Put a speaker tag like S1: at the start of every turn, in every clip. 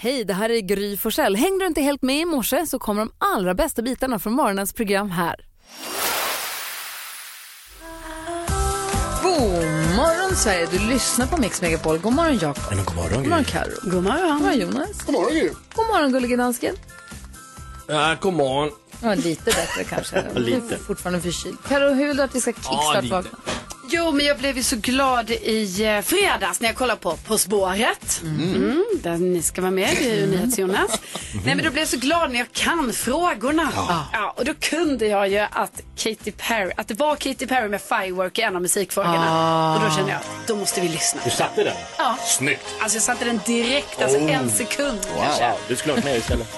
S1: Hej, det här är Gry Forssell. Hängde du inte helt med i morse så kommer de allra bästa bitarna från morgonens program här. God morgon Sverige, du lyssnar på Mix Megapol. God morgon Jakob.
S2: Men god morgon,
S1: God morgon Carro. God morgon. God morgon Jonas. God
S2: morgon Gry.
S1: God morgon gullige dansken.
S2: Ja, god morgon.
S1: Ja, lite bättre kanske.
S2: Lite.
S1: Du är fortfarande förkyld. Carro, hur vill du att vi ska
S2: Ja, lite.
S1: kickstart-vakna?
S3: Jo, men jag blev ju så glad i eh, fredags när jag kollade på På spåret. Mm. där ni ska vara med, det är ju NyhetsJonas. Nej, men då blev jag så glad när jag kan frågorna. Ja. och då kunde jag ju att Katy Perry, att det var Katy Perry med Firework i en av musikfrågorna.
S2: Ah.
S3: Och då kände jag att då måste vi lyssna.
S2: Du satte den?
S3: Ja.
S2: Snyggt.
S3: Alltså jag satte den direkt, alltså
S2: Oh.
S3: en sekund kanske.
S2: Wow, du skulle ha varit med istället.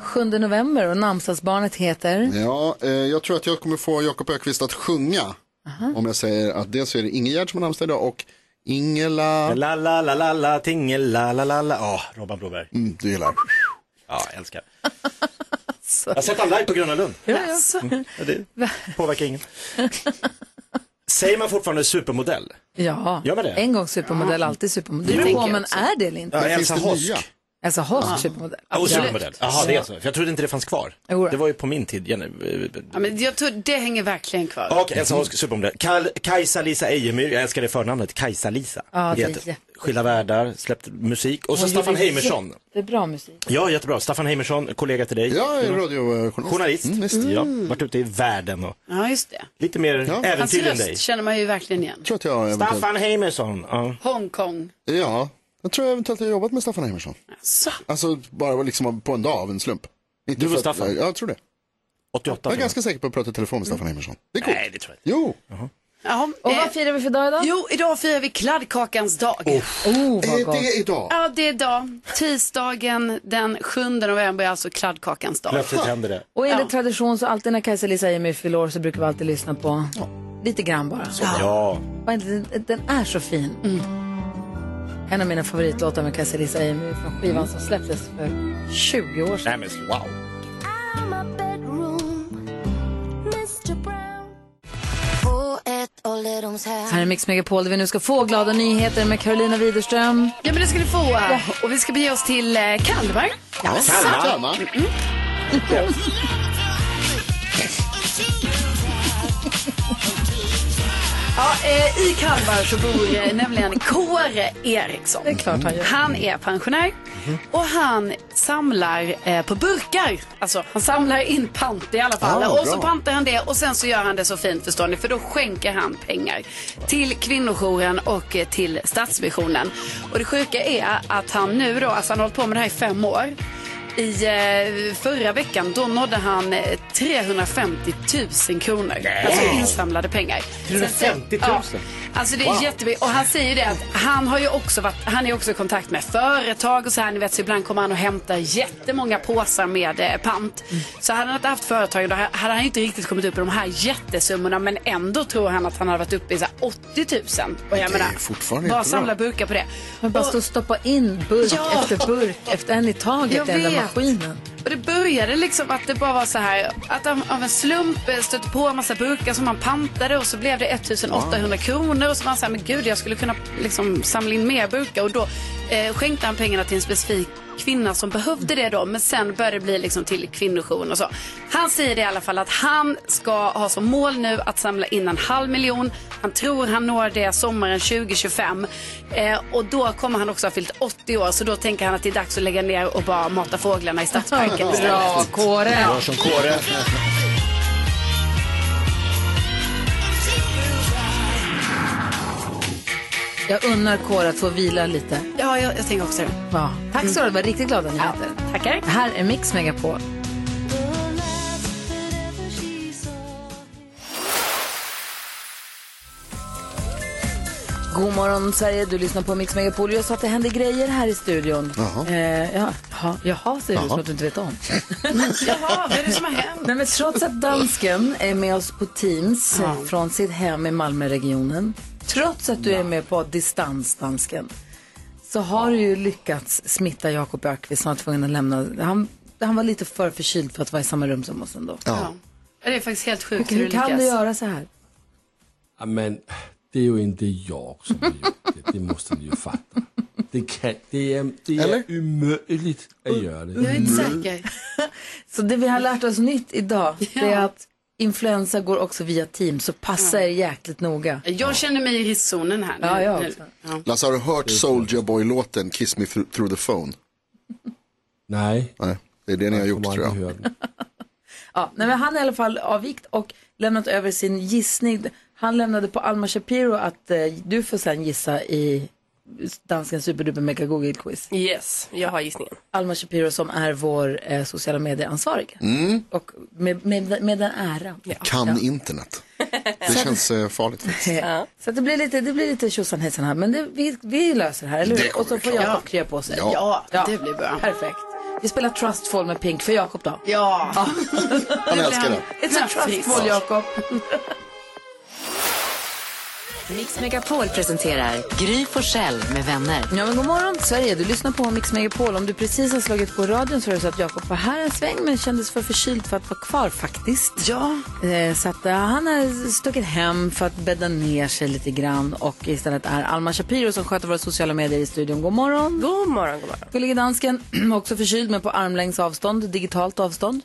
S1: Sjunde november och namnsdagsbarnet heter?
S4: Ja, eh, jag tror att jag kommer få Jakob Ökvist att sjunga. Om jag säger att dels så är det Ingegerd som har namnsdag idag och Ingela.
S2: La la la la la tingel la la la la. Ja, Robban Broberg.
S4: Mm, du gillar.
S2: Ja, jag älskar. Jag har sett han live på Gröna Lund.
S1: Mm.
S2: Ja, Det påverkar ingen. Säger man fortfarande supermodell?
S1: Ja,
S2: Gör man det?
S1: en gång supermodell, alltid supermodell. Du
S3: tänker
S1: är
S3: jag
S1: men är det eller inte?
S2: Ja,
S4: finns
S2: Elsa
S4: det
S2: Hosk.
S4: nya?
S1: Alltså host supermodell.
S2: Ah. Ja, och supermodell. Jaha, det är så. För jag trodde inte det fanns kvar.
S1: Jodå.
S2: Det var ju på min tid. Jenny.
S3: Ja, men jag tror det hänger verkligen kvar.
S2: Och
S1: Mm.
S2: Elsa Hosk, supermodell. Kal- Kajsa-Lisa Ejemyr, jag älskar det förnamnet, Kajsa-Lisa.
S1: Ja, det är
S2: Heter-
S1: jättebra.
S2: Skilda världar, släppte musik. Och så Staffan Heimersson.
S1: Det är bra musik.
S2: Ja, jättebra. Staffan Heimersson, kollega till dig.
S4: Jag är radiojournalist.
S2: Journalist.
S4: Mm, visst.
S2: Ja, varit ute i världen och
S3: Ja, just det.
S2: lite mer
S3: Hans
S2: äventyr än dig.
S3: röst känner man ju verkligen igen.
S4: Jag tror att jag eventuellt,
S2: Staffan Heimersson. Ja.
S3: Hongkong.
S4: ja, jag tror jag eventuellt har jobbat med Staffan Heimersson.
S3: Så.
S4: Alltså bara liksom på en dag av en slump. Inte
S2: Du var
S4: för att-
S2: Staffan?
S4: Ja, jag tror det.
S2: 88.
S4: Jag är ganska säker på att prata i telefon med Staffan
S2: Mm.
S4: Heimersson. Det är coolt.
S2: Nej, det tror jag inte.
S4: Jo,
S3: Ja,
S1: Och
S3: eh,
S1: vad firar vi för dag idag?
S3: Jo, idag firar vi kladdkakans dag.
S1: Oh, vad
S4: är
S1: gott.
S4: Eh, det idag?
S3: Ja, det är idag. Tisdagen den 7 november är alltså kladdkakans dag.
S2: Plötsligt händer det.
S1: Och enligt
S3: Ja.
S1: tradition så alltid när Kajsa-Lisa Emil fyller år så brukar vi alltid lyssna på lite grann bara.
S2: Ja.
S1: Bara Den, den är så fin.
S3: Mm.
S1: En av mina favoritlåtar med Kajsa-Lisa Emil från skivan som släpptes för 20 år sedan.
S2: Nej, men wow.
S1: Här är Mix Megapol där vi nu ska få glada nyheter med Carolina Widerström.
S3: Ja, men det ska ni få. eh, Och vi ska bege oss till eh, Kalmar. Mm.
S2: Kalmar.
S4: Kalmar.
S3: Ja, eh, I Kalmar så bor eh, nämligen Kåre Eriksson.
S1: Det är klart han gör. Mhm.
S3: Han är pensionär och han samlar eh, på burkar. Alltså han samlar in pant i alla fall.
S4: Ah,
S3: och så
S4: bra.
S3: pantar han det och sen så gör han det så fint förstår ni. För då skänker han pengar till kvinnojouren och eh, till Stadsmissionen. Och det sjuka är att han nu då, alltså han har hållit på med det här i fem år. I eh, förra veckan då nådde han eh, 350 000 kronor. Alltså insamlade pengar. Sen-
S2: 350 000?
S3: Ja. Alltså det är jättemycket. Och han säger ju det att han har ju också varit, han är också i kontakt med företag och så här. Ni vet så ibland kommer han och hämtar jättemånga påsar med eh, pant. Så hade han inte haft företag då hade han ju inte riktigt kommit upp i de här jättesummorna. Men ändå tror han att han hade varit uppe i så här 80 000. Och jag
S4: Det är fortfarande
S3: bara
S4: jättebra.
S3: samla burkar på det.
S1: Man bara
S3: Och-
S1: stå och stoppa in burk
S3: Ja.
S1: efter burk efter en i
S3: Jag
S1: taget i den där
S3: vet.
S1: maskinen.
S3: Och det började liksom att det bara var så här att av, av en slump eh, stötte på en massa burkar som man pantade och så blev det 1800 kronor och så var han så här, men gud jag skulle kunna liksom samla in mer burkar och då eh, skänkte han pengarna till en specifik kvinna som behövde det då men sen började det bli liksom till kvinnojouren och så. Han säger det i alla fall att han ska ha som mål nu att samla in en halv miljon. Han tror han når det sommaren 2025 eh, och då kommer han också ha fyllt 80 år så då tänker han att det är dags att lägga ner och bara mata fåglarna i stadsparken istället.
S1: Bra, Kåre.
S2: Bra som Kåre.
S1: Jag unnar Kåre att få vila lite.
S3: Ja, jag, jag tänker också det.
S1: Ja. Tack så du ha, det var riktigt glada nyheter.
S3: Tackar.
S1: Det här är Mix Megapol. God morgon Sverige, du lyssnar på Mix Megapol. Jag sa att det händer grejer här i studion.
S4: Jaha.
S1: Eh, ja. Jaha, jaha säger du som att du inte vet om.
S3: Jaha, vad är det som har hänt?
S1: Nej, men trots att dansken är med oss på Teams eh, från sitt hem i Malmöregionen, trots att du är med på distans, dansken, så har du ju lyckats smitta Jakob Ökvist som var tvungen att lämna. Han, han var lite för förkyld för att vara i samma rum som oss ändå.
S3: Ja. Det är faktiskt helt sjukt hur
S1: Hur
S3: du
S1: kan
S3: lyckas.
S1: du göra så här?
S5: Ja, Men det är ju inte jag som har gjort det. Det måste ni ju fatta. Det, kan, det är, det
S4: Eller?
S5: är omöjligt att göra
S3: Jag är
S5: det. Mm.
S3: inte säker.
S1: Mm. Så det vi har lärt oss nytt idag, det är att influensa går också via team, så passa er jäkligt noga.
S3: Jag känner mig i riskzonen här.
S1: Ja, jag
S3: Nu-
S1: också.
S3: Ja.
S4: Lasse, har du hört Soldier Boy-låten Kiss Me Thro- Through the Phone?
S5: Nej,
S4: Nej, det är det ni har gjort
S5: kommer
S4: tror
S5: aldrig
S4: jag.
S5: höra den.
S1: Ja, nej, men han har i alla fall avvikt och lämnat över sin gissning. Han lämnade på Alma Shapiro att eh, du får sen gissa i danskens superduper mega google quiz.
S6: Yes, jag har gissningen.
S1: Alma Shapiro som är vår eh, sociala medieansvarig. Och med, med, med den äran.
S4: Mm. Kan internet. Det känns eh, farligt faktiskt.
S1: Eh, Så att det blir lite, det blir lite tjosan hejsan här. Men det, vi, vi löser det här, eller
S4: Det
S1: hur?
S4: kommer
S1: Och så
S4: vi
S1: får
S4: klara.
S1: Jakob krya på sig.
S4: Ja.
S3: det blir bra.
S1: Perfekt. Vi spelar Trustfall med Pink för Jakob då.
S3: Ja.
S4: Han älskar det.
S1: It's a Trustfall Jakob.
S7: Mix Megapol presenterar Gry Forssell med vänner.
S1: Ja, men god morgon Sverige. Du lyssnar på Mix Megapol. Om du precis har slagit på radion så är det så att Jakob var här en sväng men kändes för förkyld för att vara kvar faktiskt.
S3: Ja.
S1: Eh, Så att eh, han har stuckit hem för att bädda ner sig lite grann och istället är Alma Shapiro som sköter våra sociala medier i studion. God morgon.
S6: God morgon, god morgon.
S1: Gullige dansken, också förkyld men på armlängds avstånd, digitalt avstånd.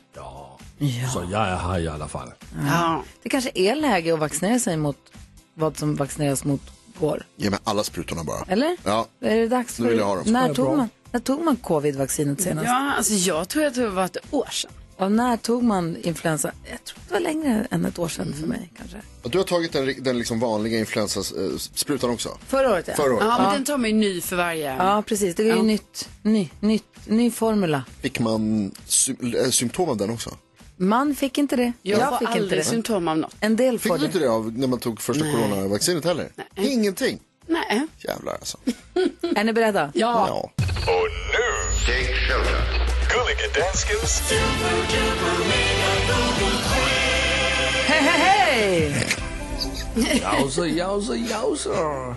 S5: Så jag är här i alla fall.
S3: ja.
S1: Det kanske är läge att vaccinera sig mot vad som vaccineras mot går,
S4: Ge mig alla sprutorna bara.
S1: eller?
S4: Ja.
S1: Är det dags
S4: Nu vill jag ha dem.
S1: När
S5: Ja,
S1: tog
S5: bra.
S1: man, när tog man covid-vaccinet senast?
S3: ja, alltså jag tror att det var ett år sedan.
S1: Och när tog man influensa? Jag tror det var längre än ett år sedan
S3: Mm.
S1: för mig kanske.
S4: Och Du har tagit den, den liksom vanliga influensasprutan också?
S1: Förra året ja.
S4: Förra året.
S3: Ja, men den tar man ju ny för varje.
S1: Ja, precis. Det är ju nytt, ny, nytt, ny formula.
S4: Fick man sy- äh, symptom av den också?
S1: Man fick inte det.
S3: Jag, får
S1: fick
S3: aldrig
S1: inte det.
S3: symptom av något.
S1: En del
S4: Fick
S1: får
S4: du inte
S1: det.
S4: det av när man tog första coronavaccinet heller? Ingenting.
S3: Nej.
S4: Jävlar alltså.
S1: Är ni beredda?
S3: Ja.
S4: Ja.
S8: Och nu, take shelter. Gulliga danskens
S1: Hej, hej, hej!
S5: Jauser, jauser, jauser.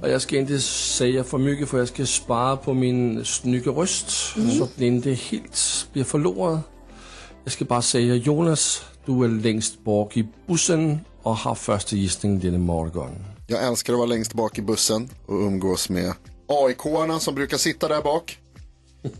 S5: Och jag ska inte säga för mycket för jag ska spara på min snygga röst
S1: Mm.
S5: så att den inte helt blir förlorad. Jag ska bara säga Jonas, du är längst bak i bussen och har första gissningen denna morgon.
S4: Jag älskar att vara längst bak i bussen och umgås med AIK-arna som brukar sitta där bak.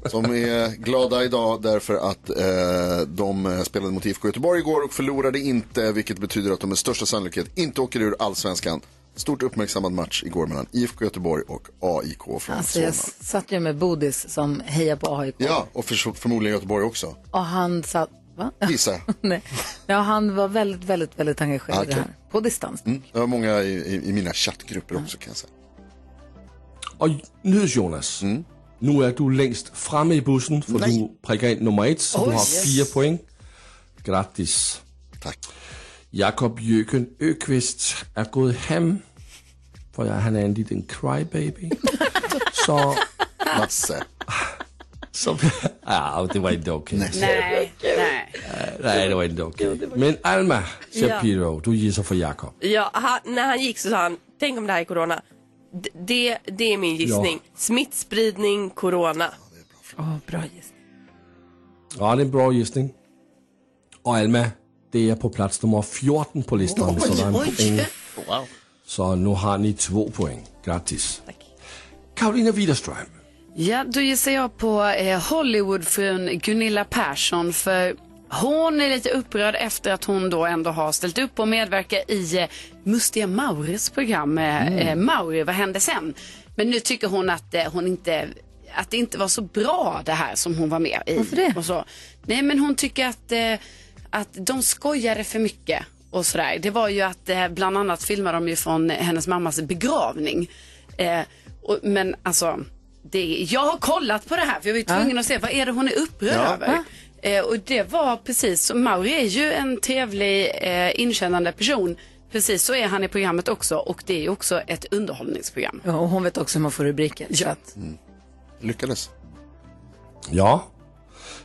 S4: Som är glada idag därför att eh, de eh, spelade mot IFK Göteborg igår och förlorade inte, vilket betyder att de med största sannolikhet inte åker ur allsvenskan. Stort uppmärksammad match igår mellan IFK Göteborg och AIK från
S1: Alltså,
S4: Solna.
S1: jag s- satt ju med Bodis som hejar på AIK
S4: Ja, och för, förmodligen Göteborg också.
S1: och han satt... Va?
S4: Gissar jag.
S1: Nej. Ja, han var väldigt, väldigt, väldigt engagerad i det
S4: Okej.
S1: här. På distans.
S4: Mm. Det var många i, i, i mina chattgrupper också kan jag säga.
S5: Och nyhets Jonas, nu är du längst framme i bussen för du prickar in nummer ett så du har fyra poäng. Grattis!
S4: Tack.
S5: Jakob Jøken Øqvist er gået ham, for jeg, han er en liten crybaby. så,
S4: Lasse.
S5: så, ah, det var inte okay. Nej.
S3: Nej. Nej.
S5: det var inte okay. Men Alma Shapiro, du gisser for Jakob.
S6: Ja, han, när han gick så sa han, tänk om det här är corona. D- det, det är min gissning. Smittspridning, corona.
S1: Åh, bra gissning.
S5: Ja, det er en bra gissning. Og Alma, det er på plads nummer 14 på listen, så der er en point. Så nu har ni två poäng. Gratis. Karolina Widerström.
S3: Ja, då gissar jag på eh, Hollywoodfrun Gunilla Persson för hon är lite upprörd efter att hon då ändå har ställt upp och medverkar i eh, Mustiga Maures program eh,
S1: Mm.
S3: eh, Mauri, vad hände sen? Men nu tycker hon att eh, hon inte att det inte var så bra det här som hon var med i.
S1: Varför det?
S3: Och så. Nej, men hon tycker att, eh, att de skojade för mycket och sådär. Det var ju att eh, bland annat filmade de ju från eh, hennes mammas begravning. Eh, och, men alltså, det, jag har kollat på det här för jag var ju tvungen att se vad är det hon är upprörd över. Eh, och det var precis, så Mauri är ju en trevlig, eh, inkännande person. Precis så är han i programmet också och det är ju också ett underhållningsprogram.
S1: Ja, och hon vet också hur man får rubriker. Så att,
S4: Lyckades.
S5: Ja.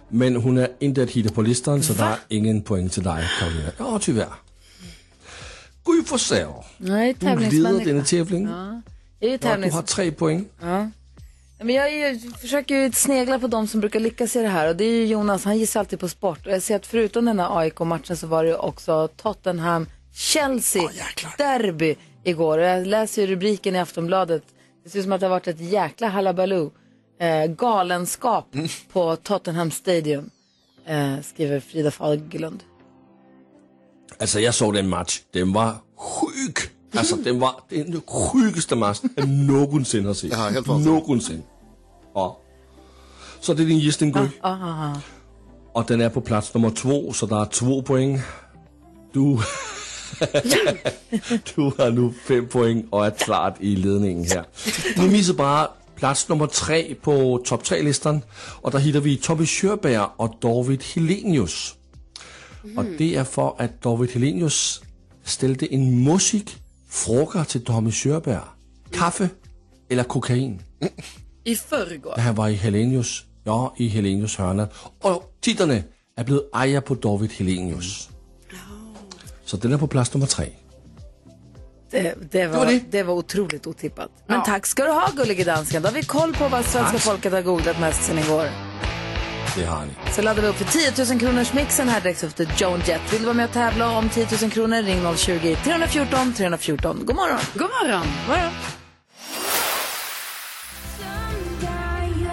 S5: Men hon är inte att hitta på listan, så där är ingen poäng till dig, Karolina. Ja, tyvärr. Gry Forssell,
S1: nej,
S5: du leder
S1: tävlingsmänniska.
S5: denna tävling.
S1: Jag är
S5: Ja,
S1: ju
S5: du
S1: tävlings...
S5: har tre poäng.
S1: Men jag är ju, försöker ju snegla på de som brukar lyckas i det här och det är ju Jonas, han gissar alltid på sport. Och jag ser att förutom den här AIK-matchen så var det ju också Tottenham Chelsea derby igår. Och jag läser ju rubriken i Aftonbladet. Det ser ut som att det har varit ett jäkla halabaloo. Eh, galenskap på Tottenham Stadium, eh, skriver Frida Fagerlund.
S5: Altså, jeg så den match. Den var sjuk. Altså, den var den sjukeste match, jeg nogensinde har set.
S4: Ja, helt vanvittigt.
S5: nogensinde. Og så er det din Justin Gry.
S1: Ah,
S5: Og den er på plads nummer to, så der er to point. Du... du har nu fem point og er klart i ledningen her. Vi misser bare plads nummer tre på top 3-listen, og der hitter vi Tommy Schørberg og David Helenius. Og
S9: Mm. Mhm.
S5: det er for, at David Helenius stillede en musikfrokker til Tommy Schørberg. Kaffe eller kokain?
S6: I förrgår.
S5: da han var i Helenius. Ja, i Helenius hørne. Og titlerne er blevet ejer på David Helenius. Så den er på plads nummer tre.
S1: Det, det, var,
S5: var
S1: det.
S5: det.
S1: var otroligt otippat. Men tack ska du ha, gullige dansken. Då har vi koll på vad svenska
S5: Tack.
S1: folket har googlat mest sen igår.
S5: Det har han.
S1: Så laddar vi upp för 10 000 kronors mixen här direkt efter Joan Jett. Vill du vara med och tävla om 10 000 kronor? Ring 020-314 314. God morgon!
S3: God morgon.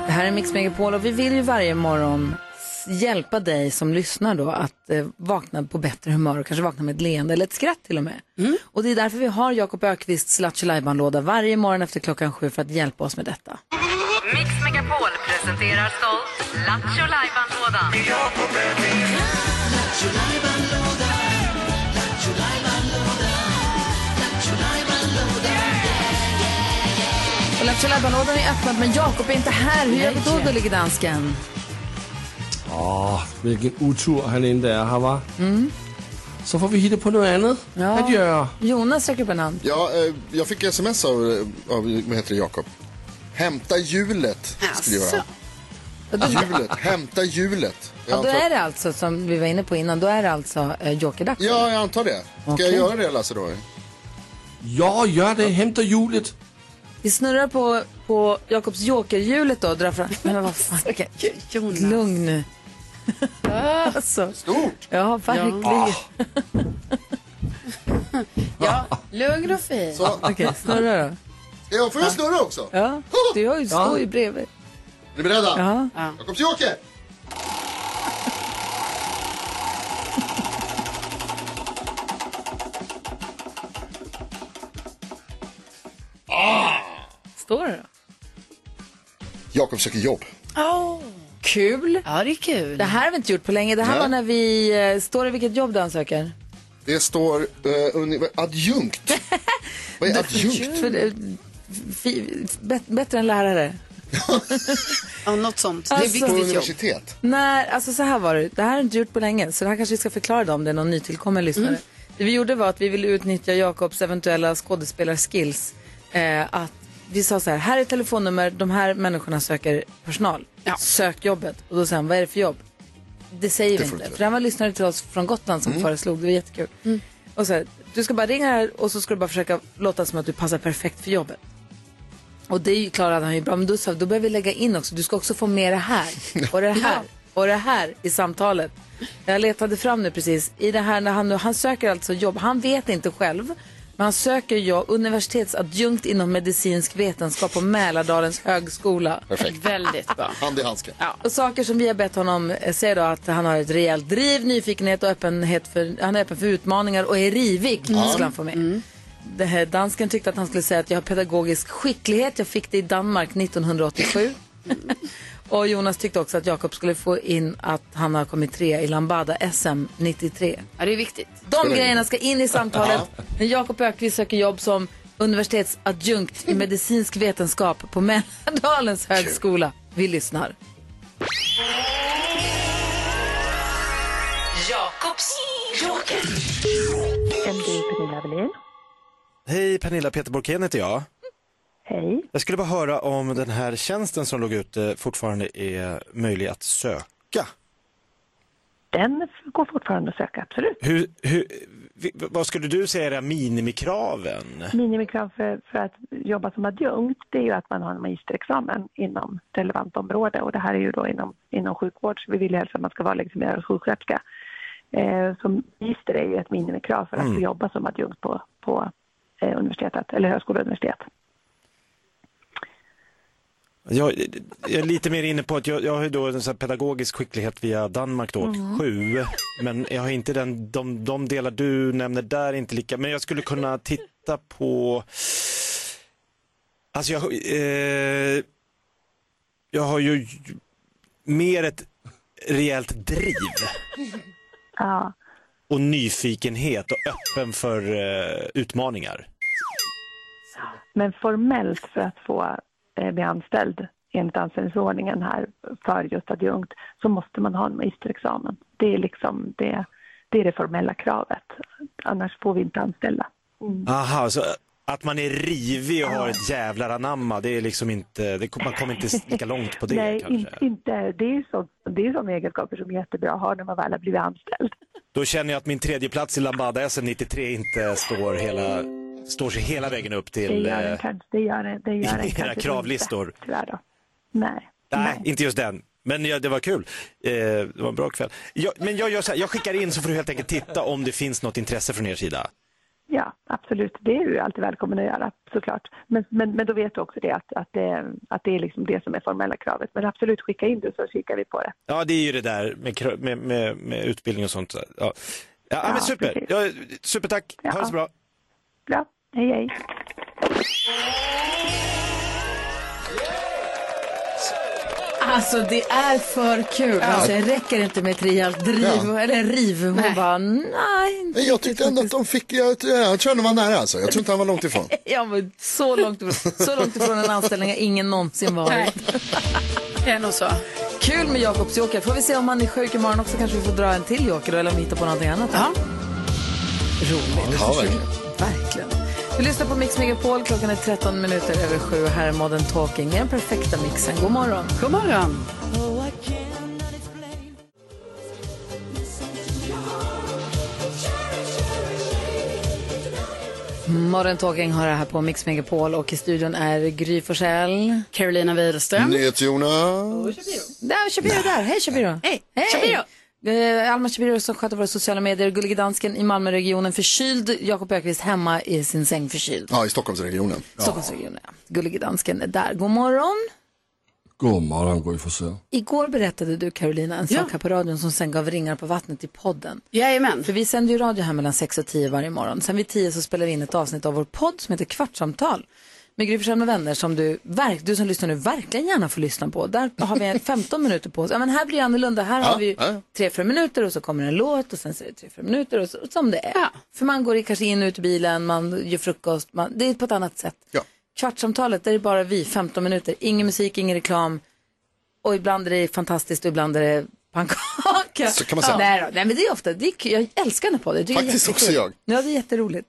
S1: Det här är Mix Megapol och vi vill ju varje morgon s- hjälpa dig som lyssnar då att eh, vakna på bättre humör och kanske vakna med ett leende eller ett skratt till och med.
S3: Mm.
S1: Och det är därför vi har Jakob Ökvists Lattjo låda varje morgon efter klockan sju för att hjälpa oss med detta.
S7: Mix Megapol presenterar stolt Lattjo Lajban-lådan.
S1: Och Lattjo lådan är öppnad men Jakob är inte här. Hur gör vi då, gullige dansken?
S5: Åh, hvilken utur han endda er her, var.
S1: Mm.
S5: Så får vi hitte på noget andet
S1: Ja.
S5: at gøre.
S1: Jonas räcker upp en hand.
S4: Ja, eh, jag fick sms av, eh, av vad heter det, Jakob? Hämta hjulet, skriver han.
S1: Och då,
S4: Hjulet, hämta hjulet. Jag
S1: ja, då
S4: antar-
S1: är det alltså, som vi var inne på innan, då är det alltså eh, jokerdags.
S4: Ja, jeg antar det. Skal jeg
S1: Okej.
S4: gjøre det, Lasse? Då?
S5: Jo, gør det. Henter hjulet.
S1: Vi snurrar på, på Jakobs jokerhjulet då och drar fram... Nej, men vad fan. Okej. Lugn nu. alltså.
S4: Stort!
S1: Ja, verkligen.
S3: Ja, lugn och fin.
S4: Så,
S1: Okej, snurra då.
S4: ja, får jag snurra också? Är
S1: Ja. Du har ju, står ju bredvid.
S4: ni beredda?
S1: Ja.
S4: Jakobsjoker! Ah.
S1: Står det då?
S4: Jakob söker jobb.
S1: Kul.
S3: Ja, det är kul.
S1: Det här har vi inte gjort på länge. Det här
S4: Nej.
S1: var när vi... eh, Står det vilket jobb du ansöker?
S4: Det står eh, uni- adjunkt. Vad är adjunkt?
S1: För, eh, fi, bet, bättre än lärare.
S3: Ja, något sånt. det
S1: Alltså-
S3: är
S4: På
S3: viktigt jobb.
S4: universitet.
S1: Nej, alltså så här var det. Det här har inte gjort på länge, så det här kanske vi ska förklara dem om det är någon nytillkommen lyssnare. Det vi gjorde var att vi ville utnyttja Jakobs eventuella skådespelarskills. Eh, att vi sa så här, här är telefonnummer, de här människorna söker personal.
S3: Ja.
S1: Sök jobbet. Och då sa han, vad är det för jobb? Det säger vi
S4: får
S1: inte.
S4: inte.
S1: För han var lyssnare till oss från Gotland som föreslog, det var jättekul. Och så här, du ska bara ringa här och så ska du bara försöka låta som att du passar perfekt för jobbet. Och det är ju- klarade han ju bra, men då sa vi, då behöver vi lägga in också, du ska också få med det här och det här och det här i samtalet. Jag letade fram nu precis, i det här när han nu, han söker alltså jobb, han vet inte själv, men han söker jobb, universitetsadjunkt inom medicinsk vetenskap på Mälardalens högskola.
S4: Perfekt.
S3: Väldigt bra.
S4: Hand i handske.
S1: Och saker som vi har bett honom eh, säga då att han har ett rejält driv, nyfikenhet och öppenhet för, han är öppen för utmaningar och är rivig.
S3: Mm.
S1: Skulle han få med. Det här, dansken tyckte att han skulle säga att jag har pedagogisk skicklighet, jag fick det i Danmark 1987. och Jonas tyckte också att Jakob skulle få in att han har kommit trea i Lambada SM 93.
S3: Ja, det är viktigt.
S1: De grejerna ska in i samtalet när Jakob Ökvist söker jobb som universitetsadjunkt i medicinsk vetenskap på Mälardalens högskola. Vi lyssnar.
S7: Jakobs joker.
S2: Hej, Pernilla Peterborkén heter jag. Hej. Jag skulle bara höra om den här tjänsten som låg ute fortfarande är möjlig att söka.
S10: Den går fortfarande att söka, absolut.
S2: Hur, hur, vi- vad skulle du säga är era minimikraven?
S10: Minimikrav för, för att jobba som adjunkt det är ju att man har en magisterexamen inom relevant område och det här är ju då inom, inom sjukvård så vi vill ju helst att man ska vara legitimerad sjuksköterska. Eh, så magister är ju ett minimikrav för att få jobba som adjunkt på, på eh, universitetet, eller högskola och universitet.
S2: Jag, jag är lite mer inne på att jag, jag har ju då en sån här pedagogisk skicklighet via Danmark då, sju. Men jag har inte den, de, de delar du nämner där är inte lika, men jag skulle kunna titta på, alltså jag, eh, jag har ju mer ett rejält driv
S10: Ja,
S2: och nyfikenhet och öppen för eh, utmaningar.
S10: men formellt för att få eh, bli anställd enligt anställningsordningen här för just adjunkt så måste man ha en magisterexamen. Det är liksom det, det, är det formella kravet. Annars får vi inte anställa.
S2: Aha, så eh, att man är rivig och har ett jävlar anamma, det är liksom inte, det, man kommer inte lika långt på det
S10: Nej,
S2: kanske.
S10: inte, inte. Det är ju så- det är ju sådana egenskaper som är jättebra att ha när man väl har blivit anställd.
S2: Då känner jag att min tredje plats i Lambada SM 93 inte står, hela, står sig hela vägen upp
S10: Det
S2: till...
S10: gör
S2: eh,
S10: en kanske, det gör en, det gör en
S2: era
S10: kanske
S2: kravlistor.
S10: Inte, tyvärr då. Nej.
S2: nej, inte just den. Men ja, det var kul. Eh, det var en bra kväll. Jag, men jag, gör så här, jag skickar in så får du helt enkelt titta om det finns något intresse från er sida.
S10: Ja, absolut. Det är du alltid välkommen att göra, såklart. Men, men, men då vet du också det att, att det, att det är liksom det som är formella kravet. Men absolut, skicka in det så kikar vi på det.
S2: Ja, det är ju det där med, krö- med, med, med utbildning och sånt. där. Ja, ja, men super.
S10: precis.
S2: Ja, supertack. Ha det så bra.
S10: Bra, hej hej.
S1: Alltså det är för kul. Alltså, jag räcker inte med ett rejält driv,
S4: Ja.
S1: eller en riv. Hon bara, nej. inte
S4: Nej, jag
S1: riktigt
S4: tyckte ändå att
S1: faktiskt.
S4: de fick, jag, jag tror han var nära alltså. Jag tror inte han var långt ifrån.
S1: Ja, men så långt, så långt ifrån en anställning har ingen någonsin
S3: Nej.
S1: varit.
S3: Det är nog så.
S1: Kul med Jakobs joker. Får vi se om han är sjuk imorgon också kanske vi får dra en till joker då, eller om vi hittar på någonting annat.
S3: Ja.
S1: Roligt.
S4: Ja, verkligen.
S1: Verkligen. Vi lyssnar på Mix Megapol. Klockan är 13 minuter över sju. Här är Modern Talking. Den perfekta mixen. God morgon.
S3: God morgon.
S1: Modern Talking har det här på Mix Megapol och i studion är Gry Forssell.
S3: Carolina Widerström.
S4: NyhetsJonas.
S1: Där, Shabiro där. Hej Shabiro.
S3: Hej,
S1: Hej.
S3: Shabiro.
S1: Eh, Alma Shabiro som sköter våra sociala medier. Gullige dansken i Malmöregionen förkyld. Jakob Ökvist hemma i sin säng förkyld.
S4: Ja, i Stockholmsregionen.
S1: Stockholmsregionen, ja. Gullige dansken är där. God morgon.
S5: God morgon, Gry Forssell.
S1: Igår berättade du Carolina en sak här på radion som sen gav ringar på vattnet i podden.
S3: Jajamän.
S1: För vi sänder ju radio här mellan 6 och 10 varje morgon. Sen vid 10 så spelar vi in ett avsnitt av vår podd som heter Kvartsamtal. Med Gry Forssell med vänner som du, verk, du som lyssnar nu verkligen gärna får lyssna på. Där har vi en 15 minuter på oss. Ja, men här blir det annorlunda. Här har vi ju
S4: ja.
S1: 3-4 minuter och så kommer en låt och sen så är det 3-4 minuter och så, som det är.
S3: Ja.
S1: För man går i- kanske in och ut i bilen, man gör frukost, man, det är på ett annat sätt.
S4: Ja.
S1: Kvartsamtalet, där är det bara vi, 15 minuter. Ingen musik, ingen reklam. Och ibland är det fantastiskt och ibland är det pannkaka.
S4: Så kan man säga.
S1: Ja. Nej, då. Nej men det är ofta, det är, kul. jag älskar den här podden. Det är
S4: Faktiskt också
S1: jättekul. Ja, det är jätteroligt.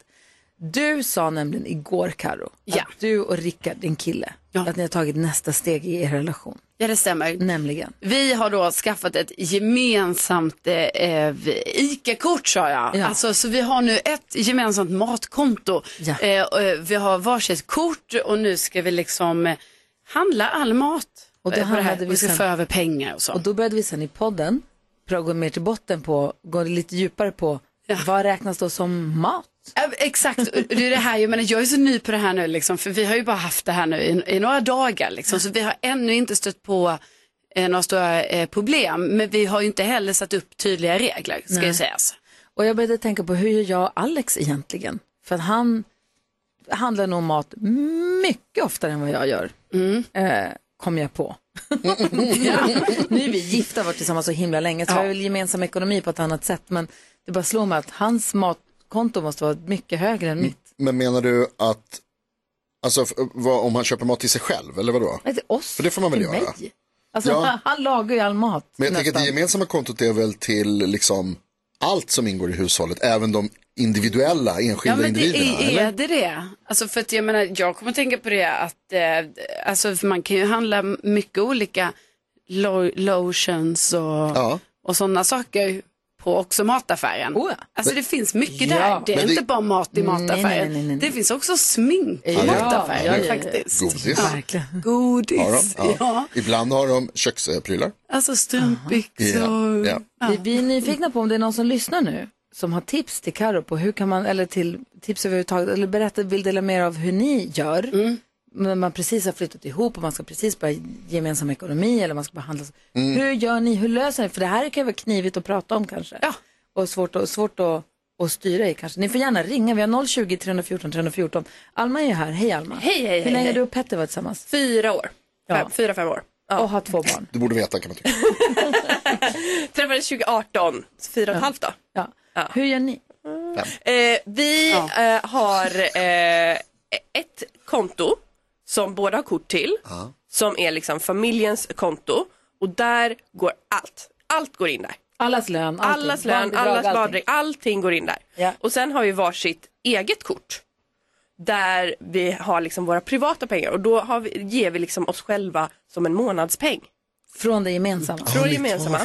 S1: Du sa nämligen igår, Karo,
S3: Ja.
S1: att du och Rickard, din kille,
S3: Ja.
S1: att ni har tagit nästa steg i er relation.
S3: Ja, det stämmer.
S1: Nämligen.
S3: Vi har då skaffat ett gemensamt eh, eh, ICA-kort sa jag.
S1: Ja.
S3: Alltså, så vi har nu ett gemensamt matkonto.
S1: Ja.
S3: Eh, och, eh, vi har varsitt kort och nu ska vi liksom eh, handla all mat.
S1: Och då
S3: eh, på det här.
S1: handlade vi
S3: Och vi ska
S1: sen-
S3: få över pengar och så.
S1: Och då började vi sen i podden pröva gå mer till botten på, gå lite djupare på, vad räknas då som mat?
S3: Ja, Exakt, Och det är det här, jag, menar, jag är så ny på det här nu, liksom, för vi har ju bara haft det här nu i, i några dagar, liksom, så vi har ännu inte stött på eh, några stora eh, problem, men vi har ju inte heller satt upp tydliga regler, ska ju sägas.
S1: Och jag började tänka på hur gör jag och Alex egentligen? För att han handlar nog mat mycket oftare än vad jag gör.
S3: Mm.
S1: Eh, kom jag på. ja. Nu är vi gifta och varit tillsammans så himla länge så vi har väl gemensam ekonomi på ett annat sätt. Men det bara slår mig att hans matkonto måste vara mycket högre
S3: Mm.
S1: än mitt.
S4: Men menar du att, alltså f- vad, om han köper mat till sig själv eller vadå?
S1: Nej, till oss.
S4: För det får man väl
S1: Alltså, till
S4: göra.
S1: Mig. Alltså,
S4: Ja.
S1: Han lagar ju all mat.
S4: Men jag tänker att
S1: nästan.
S4: det gemensamma kontot är väl till liksom allt som ingår i hushållet, även de individuella, enskilda individerna?
S3: det är,
S4: eller?
S3: är det det? Alltså för att jag menar, jag kommer tänka på det att eh, alltså för man kan ju handla mycket olika lo- lotions och,
S4: Ja.
S3: och sådana saker på också mataffären.
S1: Oh ja.
S3: Alltså det finns mycket
S1: Ja.
S3: där. Det är
S4: Men det-
S3: inte bara mat i
S1: Nej, nej,
S3: mataffären.
S1: nej, nej, nej.
S3: Det finns också smink i
S1: Ja,
S3: mataffären
S1: ja, ja, ja.
S3: faktiskt.
S4: Godis.
S1: Verkligen.
S4: Har de?
S3: Godis, ja.
S4: Ibland har de köksprylar.
S3: Alltså strumpbyxor.
S4: Ja, ja.
S1: Vi, vi är nyfikna på om det är någon som lyssnar nu som har tips till Karo på hur kan man, eller till tips överhuvudtaget, eller berätta, vill dela mer av hur ni gör. När man precis har flyttat ihop och man ska precis börja gemensam ekonomi eller man ska behandlas. Hur gör ni, hur löser ni? För det här kan vara knivigt att prata om kanske. Ja. Och svårt, att, svårt att, att styra i kanske. Ni får gärna ringa, vi har 020 314 314. Alma är ju här, hej Alma.
S6: Hej, hej,
S1: Hur länge
S6: hej,
S1: har du och Petter varit tillsammans?
S6: Fyra år.
S1: Ja.
S6: Fem, fyra, fem år.
S1: Och har två barn.
S4: Du borde veta kan man tycka.
S6: Träffades 2018, så fyra och ett halvt då.
S1: Ja. Hur gör ni?
S6: Eh, vi eh, har eh, ett konto som båda har kort till, som är liksom familjens konto och där går allt. Allt går in där.
S1: Allas lön, allting.
S6: Allas lön,
S1: Barnbidrag,
S6: allas
S1: allting.
S6: barnbidrag, allting går in där.
S1: Ja.
S6: Och sen har vi varsitt eget kort där vi har liksom våra privata pengar och då har vi, ger vi liksom oss själva som en månadspeng
S1: Från det gemensamma.
S6: från det gemensamma.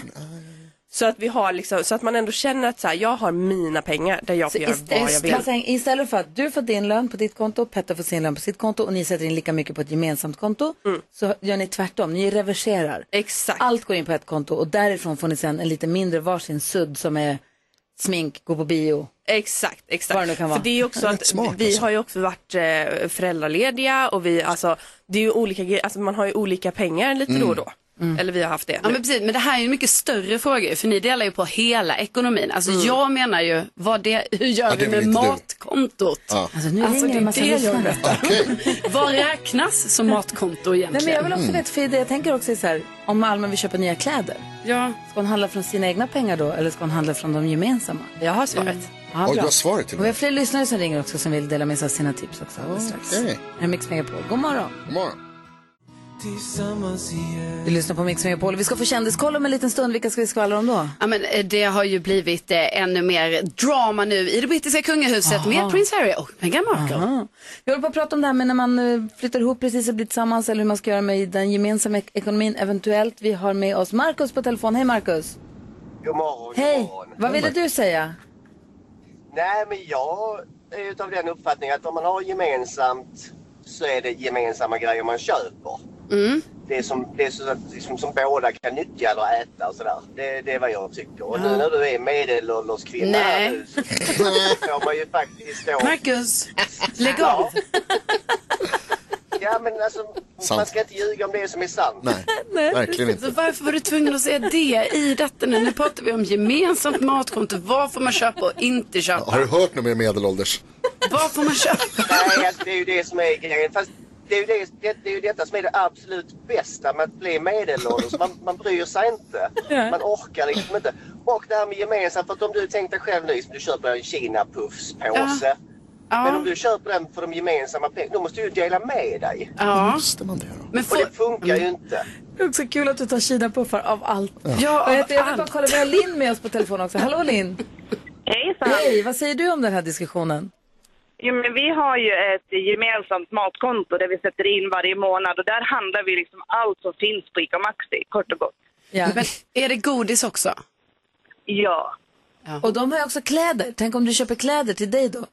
S6: Så att vi har liksom, så att man ändå känner att så här, jag har mina pengar där jag
S1: Så
S6: får göra
S1: ist-
S6: vad jag vill.
S1: man säger, istället för att du får din lön på ditt konto, Petter får sin lön på sitt konto och ni sätter in lika mycket på ett gemensamt konto så gör ni tvärtom, ni reverserar.
S6: Mm. Exakt.
S1: Allt går in på ett konto och därifrån får ni sen en lite mindre varsin sudd som är smink, gå på bio.
S4: Mm.
S6: Exakt, exakt.
S1: Vad det nu kan vara.
S6: För det är ju också att
S4: smart,
S6: vi
S4: alltså.
S6: har ju också varit eh, föräldralediga och vi, alltså, det är ju olika grejer, alltså man har ju olika pengar lite
S4: Mm.
S6: då och då.
S1: Mm.
S6: Eller vi har haft det
S3: Ja
S6: nu.
S3: men precis, men det här är ju en mycket större fråga ju, för ni delar ju på hela ekonomin. Alltså jag menar ju, vad det, hur gör
S4: Mm. Ja, det
S3: vi
S4: är
S3: med
S4: väl inte du.
S3: matkontot?
S1: Alltså nu
S3: Alltså,
S1: ringer
S3: det
S1: en
S3: är
S1: massa
S3: det jag
S1: lyssnare.
S3: vet.
S4: Okej,
S3: Vad räknas som matkonto
S1: Nej, men jag
S3: egentligen?
S1: vill också
S4: Mm.
S1: veta, för det jag tänker också är så här, om Alma vill köpa nya kläder,
S3: Ja,
S1: ska hon handla från sina egna pengar då eller ska hon handla från de gemensamma?
S6: Jag har svaret.
S1: Ja,
S4: Oj,
S1: bra.
S4: du har svaret till
S1: Och vi har
S4: mig.
S1: fler lyssnare som ringer också som vill dela med sig av sina tips också alldeles strax.
S4: Okej.
S1: Här är Mix Megapol. God morgon.
S4: God morgon.
S1: Du lyssnar på Mix Megapol. Vi ska få kändiskoll om en liten stund. Vilka ska vi skvallra om då?
S3: Ja, men eh, det har ju blivit eh, ännu mer drama nu i det brittiska kungahuset med prins Harry och Meghan Markle.
S1: Ja. Vi håller på att prata om det här med när man eh, flyttar ihop precis och blir tillsammans eller hur man ska göra med den gemensamma ek- ekonomin eventuellt. Vi har med oss Markus på telefon. Hej Markus!
S11: God morgon, god
S1: Hej!
S11: morgon.
S1: Vad ville du säga?
S11: Nej, men jag är utav den uppfattningen att om man har gemensamt så är det gemensamma grejer man köper. Det, som, det som, liksom, som båda kan nyttja eller äta och sådär. Det, det är vad jag tycker. Och nu när du är medelålders kvinna
S3: Nej.
S11: här nu så får man ju faktiskt då...
S3: Marcus, lägg av.
S11: Ja, men alltså, man
S4: Sant.
S11: ska inte ljuga om det som är sant.
S4: Nej, verkligen
S3: Så
S4: inte.
S3: varför var du tvungen att säga det i detta nu? Nu pratar vi om gemensamt matkonto. Vad får man köpa och inte köpa?
S4: Har du hört något mer medelålders?
S3: Vad får man köpa?
S11: Nej, alltså, det är ju det som är grejen. Fast det är, ju det, det, det är ju detta som är det absolut bästa med att bli medelålders. Man, man bryr sig inte. Man orkar liksom inte. Och det här med gemensamt, för att om du tänkte själv nu, liksom, du köper en kinapuffspåse. Men om du köper den för de gemensamma pengarna, då måste du ju dela med dig.
S3: Ja,
S4: Måste man det då?
S3: men
S11: Och
S3: får...
S11: det funkar ju inte.
S1: Mm. Det är också kul att du tar kinapuffar av allt.
S3: Ja,
S1: Och jag, jag vill bara
S3: allt.
S1: kolla, vi har Linn med oss på telefon också. Hallå Linn!
S10: Hejsan!
S1: Hej! Vad säger du om den här diskussionen?
S10: Jo, men vi har ju ett gemensamt matkonto där vi sätter in varje månad och där handlar vi liksom allt som finns på ICA Maxi, kort och gott.
S1: Ja.
S3: Men är det godis också?
S10: Ja.
S1: Och de har ju också kläder. Tänk om du köper kläder till dig då?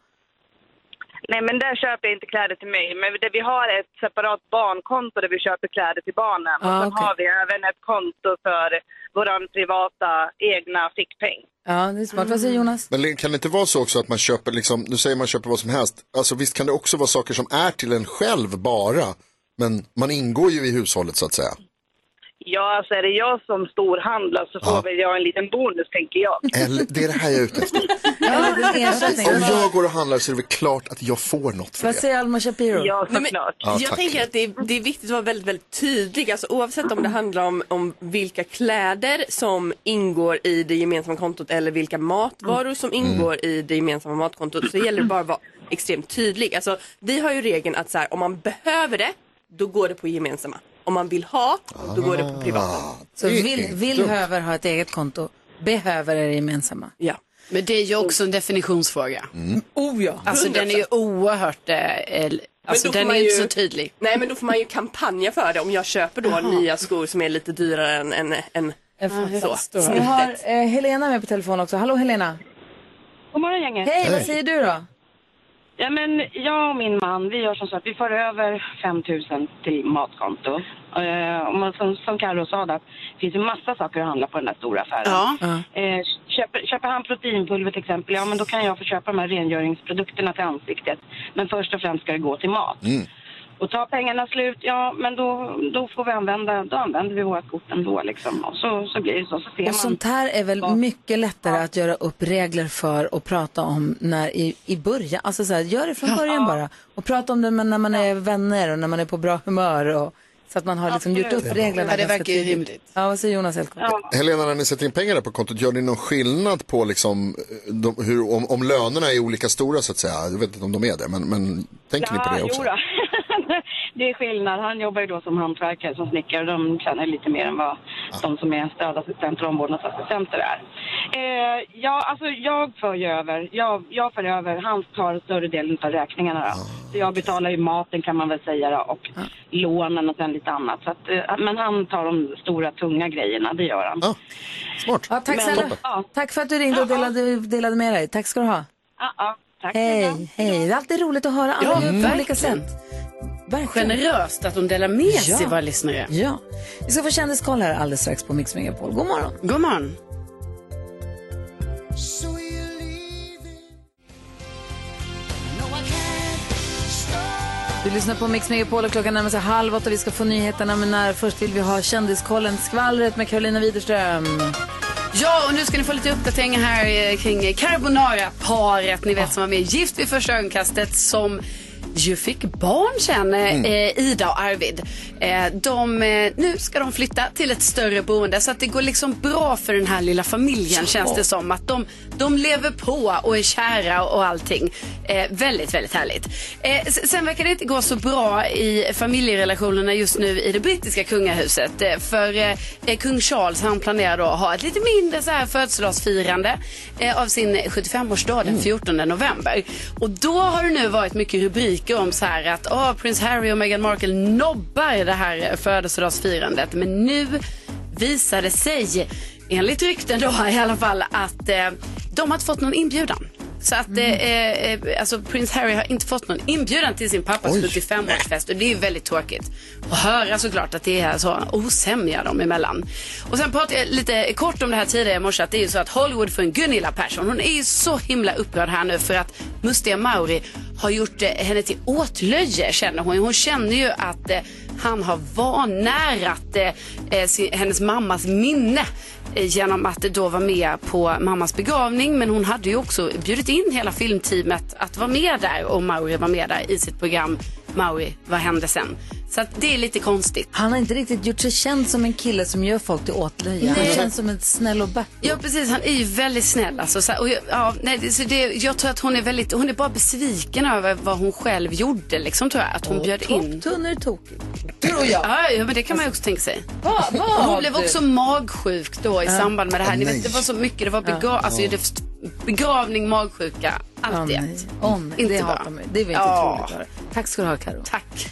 S10: Nej, men där köper jag inte kläder till mig. Men det, vi har ett separat barnkonto där vi köper kläder till barnen.
S1: Ah,
S10: och sen
S1: okej.
S10: har vi även ett konto för vår privata egna fickpeng.
S1: Ja, det är smart. Vad säger Jonas?
S4: Men kan det inte vara så också att man köper, liksom, nu säger man köper vad som helst, alltså visst kan det också vara saker som är till en själv bara, men man ingår ju i hushållet så att säga.
S10: Ja, alltså är det jag som storhandlar så får
S4: Ja.
S10: väl jag en liten bonus, tänker jag.
S4: Eller, det är det här jag är ute efter.
S1: Ja, det är ersättning.
S4: Om jag går och handlar så är det väl klart att jag får något för
S1: Vad
S4: det.
S1: säger Alma Shapiro?
S10: Ja,
S6: Nej, men
S10: såklart.
S4: Ja,
S6: jag
S4: tack.
S6: tänker att det är, det är viktigt att vara väldigt, väldigt tydlig. Alltså, oavsett om det handlar om, om vilka kläder som ingår i det gemensamma kontot eller vilka matvaror som
S4: Mm.
S6: ingår i det gemensamma matkontot så gäller det bara att vara extremt tydlig. Alltså, vi har ju regeln att så här, om man behöver det, då går det på gemensamma. Om man vill ha, då går det på privata.
S1: Så
S4: Ah. Det är
S1: vill,
S4: inte
S1: vill
S4: dumt.
S1: höver ha ett eget konto, behöver är det gemensamma.
S6: Ja.
S3: Men det är ju också en definitionsfråga.
S4: Mm.
S1: Oh ja.
S3: Alltså den är ju oerhört, eh, el- alltså
S6: då får
S3: den är
S6: man
S3: ju inte
S6: ju-
S3: så tydlig.
S6: Nej men då får man ju kampanja för det om jag köper då nya skor som är lite dyrare än, än, än så.
S1: Vi har eh, Helena med på telefon också. Hallå Helena.
S10: God morgon, gänget.
S1: Hej, vad säger du då?
S9: Ja, men jag och min man, vi gör som så att vi för över 5 000 till matkonto. Eh, och man, som, som Carro sa, där, det finns ju massa saker att handla på den här stora affären.
S3: Ja.
S9: Eh, köper, köper han proteinpulver till exempel, ja men då kan jag få köpa de här rengöringsprodukterna till ansiktet. Men först och främst ska det gå till mat. Och tar pengarna slut, ja men då, då får vi använda, då använder vi vårt kort ändå liksom. Och så, så blir det så, så ser man.
S1: Och sånt här är väl mycket lättare att göra upp regler för och prata om när i, i början. Alltså så här, gör det från början bara. Och prata om det men när man är vänner och när man är på bra humör. Och, så att man har liksom gjort upp
S4: Absolut.
S1: reglerna.
S4: Ja, det
S1: ganska
S4: verkar ju
S1: tidigt.
S4: rimligt.
S1: Ja, vad säger Jonas Elko?
S4: Helena, när ni sätter in pengar där på kontot, gör ni någon skillnad på liksom, eh, de, hur, om, om lönerna är olika stora så att säga? Jag vet inte om de är det, men, men tänker ni på det också?
S9: Jo då. det är skillnad. Han jobbar ju då som hantverkare, som snickare. och De tjänar lite mer än vad
S4: Ah.
S9: de som är stödassistenter och omvårdnadsassistenter är. Eh, ja, alltså jag för ju över. Jag, jag för över. Han tar större delen av räkningarna.
S4: Ah,
S9: Då. Så jag betalar ju maten kan man väl säga då, och lånen och sen lite annat. Så att, eh, men han tar de stora tunga grejerna, det gör han.
S4: Ah, Smart.
S1: Ja, tack, snälla. tack för att du ringde och delade, delade med dig. Tack ska du ha.
S9: Ja, ja. Tack
S1: Hej, hej. Det är alltid roligt att höra alla
S3: Ja,
S1: gör på olika
S3: verkligen.
S1: sätt. Verkligen.
S3: Generöst att de delar med sig våra lyssnare.
S1: Ja. Vi ska få kändiskoll här alldeles strax på Mix Megapol. God morgon.
S3: God morgon.
S1: Du lyssnar på Mix Megapol och klockan närmar sig halv åtta. Vi ska få nyheterna, men när först vill vi ha kändiskollen, skvallret med Carolina Widerström.
S3: Ja, och nu ska ni få lite uppdatering här eh, kring Carbonara-paret, ni vet som var med i Gift vid första ögonkastet som ju fick barn sen, eh,
S12: Mm.
S3: eh, Ida och Arvid. Eh, de, eh, nu ska de flytta till ett större boende så att det går liksom bra för den här lilla familjen
S12: Ja.
S3: känns det som. Att de, de lever på och är kära och allting. Eh, väldigt, väldigt härligt. Eh, s- sen verkar det inte gå så bra i familjerelationerna just nu i det brittiska kungahuset. Eh, för eh, kung Charles han planerar då att ha ett lite mindre så här födelsedagsfirande eh, av sin 75-årsdag den 14 november. Och då har det nu varit mycket rubriker om så här att ah, prins Harry och Meghan Markle nobbar det här födelsedagsfirandet. Men nu visar det sig, enligt rykten då i alla fall, att eh, de har inte fått någon inbjudan. Så att eh, eh, alltså, prins Harry har inte fått någon inbjudan till sin pappas 75-årsfest och det är ju väldigt tråkigt att höra såklart att det är så osämja dem emellan. Och sen pratade jag lite kort om det här tidigare i morse att det är ju så att Hollywood för en Gunilla Persson, hon är ju så himla upprörd här nu för att Mustiga Mauri har gjort eh, henne till åtlöje känner hon ju. Hon känner ju att eh, han har vanärat eh, eh, sin, hennes mammas minne eh, genom att då vara med på mammas begravning. Men hon hade ju också bjudit in hela filmteamet att vara med där och Mauri var med där i sitt program Mauri, vad hände sen? Så att det är lite konstigt.
S1: Han har inte riktigt gjort sig känd som en kille som gör folk till åtlöje. Han
S3: Nej.
S1: känns som en snäll och bättre.
S3: Ja, precis. Han är ju väldigt snäll. Alltså, så, här, och jag, ja, nej, det- så det, jag tror att hon är, väldigt, hon är bara besviken över vad hon själv gjorde, liksom, tror jag. Att hon bjöd in.
S1: Tunnor är tokigt.
S3: Tror jag. Ja, ja, men det kan man ju också tänka sig.
S1: vad
S3: Och hon
S1: har
S3: blev
S1: du?
S3: också magsjuk då i
S1: Ja.
S3: samband med det här.
S1: Åh,
S3: Ni
S1: nej.
S3: vet, det var så mycket. Det var
S1: Ja.
S3: begra- alltså,
S1: Ja.
S3: det begravning, magsjuka, allt
S1: Åh,
S3: det.
S1: nej. Åh, nej.
S3: Inte
S1: det
S3: bra.
S1: hatar mig. Det var inte
S3: Ja.
S1: troligt. Bara. Tack ska du ha, Karo.
S3: Tack.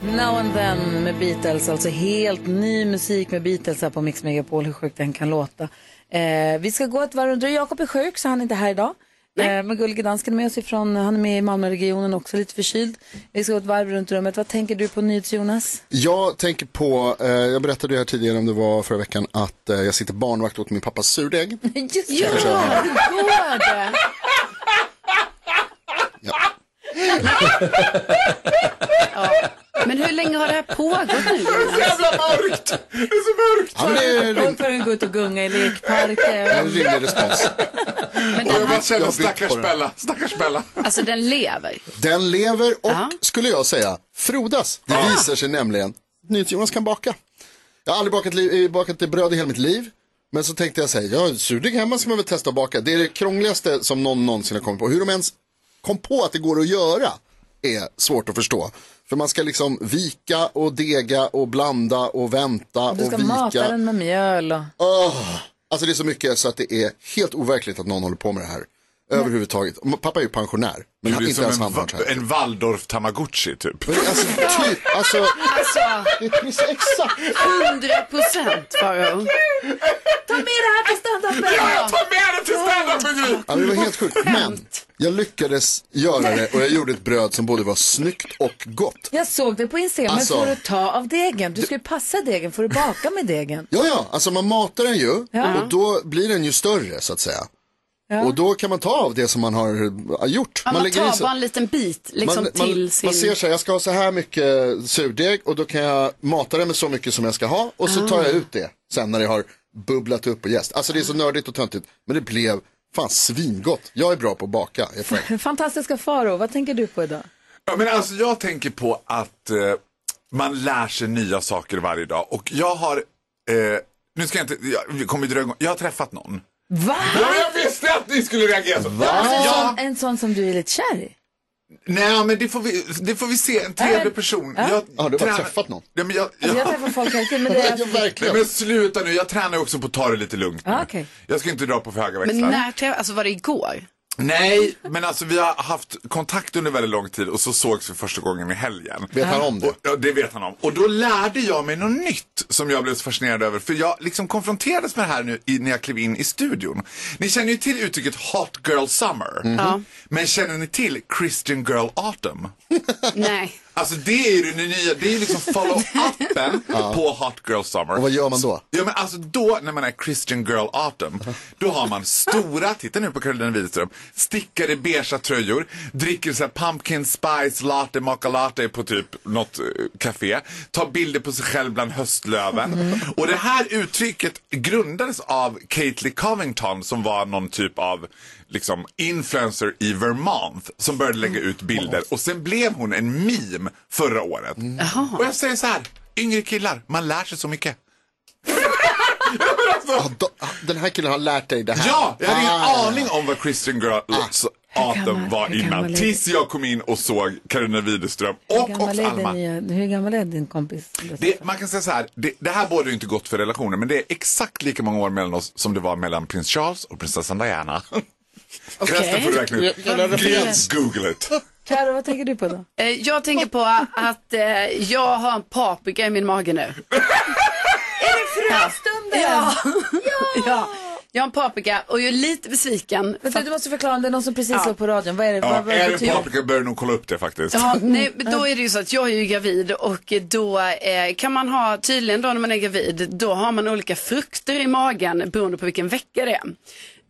S1: Now and then med Beatles, alltså helt ny musik med Beatles här på Mix Megapol, hur sjukt den kan låta. Eh, vi ska gå ett varv runt, Jakob är sjuk så han är inte här idag. Eh, men Gullige Dansken är med oss ifrån, han är med i Malmöregionen också, lite förkyld. Vi ska gå ett varv runt rummet, vad tänker du på nyhets Jonas?
S4: Jag tänker på, eh, jag berättade ju här tidigare om det var förra veckan att eh, jag sitter barnvakt åt min pappas surdeg.
S1: Just
S4: Ja, hur
S1: går det?
S3: Men hur länge har det här pågått nu? Det är så
S4: jävla mörkt!
S3: Det är så mörkt!
S4: Ja, men det är
S1: Hon får gå ut och gunga i lekparker.
S4: En rimlig respons.
S3: den
S4: Jag har-
S3: här-
S4: jag har byggt på den.
S13: stackars Bella.
S3: Alltså, den lever.
S4: Den lever och, skulle jag säga, frodas. Det visar sig nämligen, NyhetsJonas kan baka. Jag har aldrig bakat, li- eh, bakat det bröd i hela mitt liv. Men så tänkte jag säga, jag har en surdeg hemma som jag vill testa att baka. Det är det krångligaste som någon någonsin har kommit på. Hur de ens kom på att det går att göra är svårt att förstå. För man ska liksom vika och dega och blanda och vänta
S1: Du ska
S4: och vika.
S1: mata den med mjöl och...
S4: Åh, alltså det är så mycket så att det är helt overkligt att någon håller på med det här. Överhuvudtaget. Och Pappa är ju pensionär. Men
S12: du är
S4: inte ens
S12: som en,
S4: han har
S12: va- en Waldorf Tamagotchi typ.
S4: Alltså, typ, alltså,
S3: Alltså,
S4: exakt.
S3: 100 procent Farao. Ta med det här på standupen!
S12: Ja, jag tar med det till standupen!
S4: Ja, det var helt sjukt. Men jag lyckades göra det och jag gjorde ett bröd som både var snyggt och gott.
S1: Jag såg det på Instagram,
S4: Alltså-
S1: men får du ta av degen? Du ska ju passa degen, får du baka med degen?
S4: Ja, ja, alltså man matar den ju
S1: Ja.
S4: och då blir den ju större så att säga.
S1: Ja.
S4: Och då kan man ta av det som man har eh, gjort.
S3: Man, man
S4: lägger i
S3: tar
S4: sig-
S3: bara en liten bit liksom
S4: man,
S3: till
S4: man,
S3: sin...
S4: man ser så här, jag ska ha så här mycket eh, surdeg och då kan jag mata det med så mycket som jag ska ha och så tar
S3: Ah.
S4: jag ut det sen när det har bubblat upp och jäst. Alltså det är så nördigt och töntigt men det blev fan svingott. Jag är bra på att baka. Jag får-
S1: Fantastiska Faro, vad tänker du på idag?
S12: Ja, men alltså, jag tänker på att eh, man lär sig nya saker varje dag. Och jag har, eh, nu ska jag inte, jag, vi kommer dra igång, jag har träffat någon.
S1: Va?
S12: Ja, jag visste att ni skulle reagera så.
S1: Alltså, en,
S12: Ja,
S1: sån, en sån som du är lite kär i?
S12: nej, men det får, vi, det får vi se, en
S1: Ja, men-
S12: trevlig person.
S1: ja.
S4: Har du bara
S12: tränar-
S4: träffat någon?
S12: Ja, men jag,
S1: Alltså, jag
S12: jag-
S1: träffar folk hela tiden, men det är...
S12: Nej, men sluta nu, jag tränar ju också på att ta det lite lugnt.
S1: Ja, okej.
S12: Jag ska inte dra på för höga
S3: Men
S12: växlar.
S3: när träffades, alltså var det igår?
S12: Nej, men alltså vi har haft kontakt under väldigt lång tid och så sågs vi första gången i helgen.
S4: Vet han om det?
S12: Och, ja, det vet han om. Och då lärde jag mig något nytt som jag blev så fascinerad över. För jag liksom konfronterades med det här nu i, när jag klev in i studion. Ni känner ju till uttrycket Hot Girl Summer.
S4: Mhm.
S3: Ja.
S12: Men känner ni till Christian Girl Autumn?
S3: Nej.
S12: Alltså det är ju det nya, det är ju liksom follow-upen på Hot Girl Summer.
S4: Och vad gör man då?
S12: Ja men alltså då när man är Christian Girl Autumn, då har man stora, titta nu på Karolina Widerström, stickade beiga tröjor, dricker så här pumpkin spice latte mocha latte på typ något eh, café, tar bilder på sig själv bland höstlöven. Och det här uttrycket grundades av Kately Covington som var någon typ av liksom influencer i Vermont som började lägga ut bilder och sen blev hon en meme förra året. Och jag säger så här, yngre killar, man lär sig så mycket.
S4: Ja, då, den här killen har lärt dig det här.
S12: Ja, jag hade ingen
S4: Ah.
S12: aning om vad Christian Girl Autumn var
S1: hur gammal är
S12: innan.
S1: du?
S12: Tills jag kom in och såg Karolina Widerström
S1: Hur
S12: och
S1: gammal,
S12: också
S1: är din,
S12: Alma.
S1: nya- hur gammal är din kompis?
S12: Det, man kan säga så här, det, det här borde ju inte gott för relationer men det är exakt lika många år mellan oss som det var mellan prins Charles och prinsessan Diana. Resten får du räkna ut.
S4: Jävla referens.
S12: Google it.
S1: Karo, vad tänker du på då?
S3: Eh, Jag tänker på att eh, jag har en paprika i min mage nu.
S1: Är det frustunden?
S3: Ja. ja. Jag har en paprika och jag är lite besviken.
S1: Vänta, du måste förklara om det är någon som precis
S3: Ja.
S1: var på radion. Vad är det?
S12: Ja,
S1: vad, vad
S12: är det
S1: betyder-
S12: paprika bör du nog kolla upp det faktiskt.
S3: Ja, nej, men då är det ju så att jag är ju gravid och då eh, kan man ha, tydligen då när man är gravid, då har man olika frukter i magen beroende på vilken vecka det är.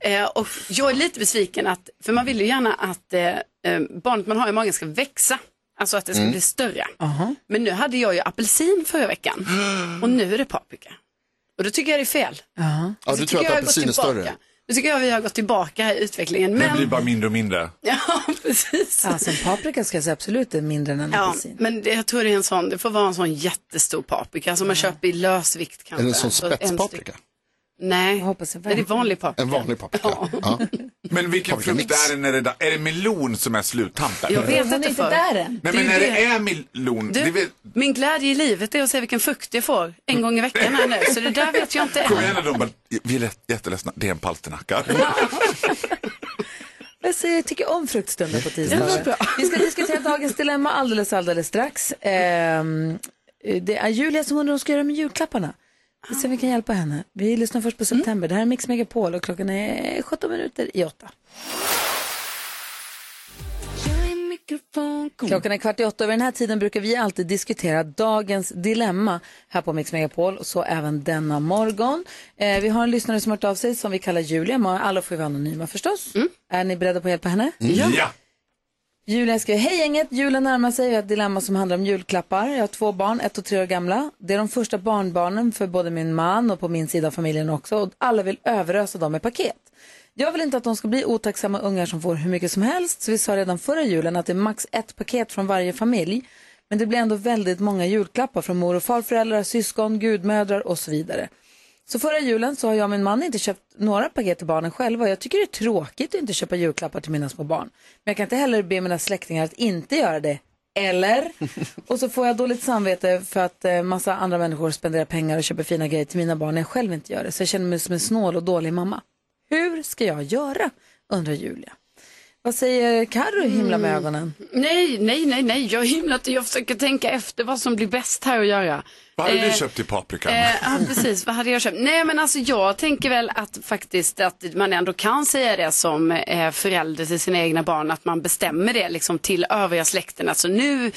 S3: Eh, och jag är lite besviken att, för man vill ju gärna att eh, eh, barnet man har i magen ska växa. Alltså att det ska
S1: Mm.
S3: bli större. Men nu hade jag ju apelsin förra veckan och nu är det paprika. Och då tycker jag det är fel.
S1: Ja.
S4: Ja,
S3: Så
S4: du
S3: tycker
S4: tror att
S3: jag jag har
S4: apelsin är
S3: gått tillbaka.
S4: större?
S3: Nu tycker jag vi har gått tillbaka här i utvecklingen.
S12: Det blir
S3: Men,
S12: bara mindre och mindre.
S3: ja, precis.
S1: Alltså en paprika ska jag säga absolut är mindre än en
S3: Ja,
S1: apelsin.
S3: men det, jag tror det är en sån, det får vara en sån jättestor paprika som man köper i lösvikt kanske.
S4: Är det en sån
S3: Alltså, en styck-
S4: spetspaprika?
S3: Nej,
S1: hoppas
S3: Nej, det är vanlig paprika.
S4: En vanlig paprika? Ja.
S12: Men vilken frukt är det när det är Är det melon som är sluttampen?
S3: Jag vet
S1: Hon är
S3: inte
S1: inte
S3: för.
S1: där än.
S12: Nej
S3: Det är
S12: men när
S3: ju
S12: det är melon,
S3: Du,
S12: det vet,
S3: Min glädje i livet är att se vilken frukt jag får en gång i veckan här nu, så det där vet jag inte
S12: Kom
S3: än.
S12: igen och de bara, vi är lätt- jätteledsna, det är en palternacka.
S1: Jag säger, tycker om fruktstunder på
S3: Ja,
S1: tisdagar.
S3: bra.
S1: Vi ska diskutera dagens dilemma alldeles, alldeles strax. Ehm, det är Julia som undrar vad hon ska göra med julklapparna. Vi ser om vi kan hjälpa henne. Vi lyssnar först på september. Det här är Mix Megapol och klockan är 17 minuter i åtta. Klockan är kvart i åtta och vid den här tiden brukar vi alltid diskutera dagens dilemma här på Mix Megapol och så även denna morgon. Eh, vi har en lyssnare som har hört av sig som vi kallar Julia. Ma- Alla får ju vara anonyma förstås. Är ni beredda på att hjälpa henne?
S12: ja.
S1: Julia skriver, hej gänget, julen närmar sig och jag har ett dilemma som handlar om julklappar. Jag har två barn, ett och tre år gamla. Det är de första barnbarnen för både min man och på min sida av familjen också och alla vill överösa dem med paket. Jag vill inte att de ska bli otacksamma ungar som får hur mycket som helst så vi sa redan förra julen att det är max ett paket från varje familj. Men det blir ändå väldigt många julklappar från mor och farföräldrar, syskon, gudmödrar och så vidare. Så förra julen så har jag och min man inte köpt några paket till barnen själva. Jag tycker det är tråkigt att inte köpa julklappar till mina små barn. Men jag kan inte heller be mina släktingar att inte göra det. Eller? Och så får jag dåligt samvete för att eh, massa andra människor spenderar pengar och köper fina grejer till mina barn när jag själv inte gör det. Så jag känner mig som en snål och dålig mamma. Hur ska jag göra? undrar Julia. Vad säger Carro himla med ögonen?
S3: Mm. Nej, nej, nej, nej. Jag himlar inte. Jag försöker tänka efter vad som blir bäst här att göra.
S12: Vad hade
S3: Eh,
S12: du köpt i paprikan?
S3: Eh, ja, precis. Vad hade jag köpt? Nej, men alltså jag tänker väl att faktiskt att man ändå kan säga det som eh, förälder till sina egna barn, att man bestämmer det liksom till övriga släkten. Alltså nu,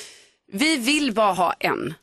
S3: vi vill bara ha en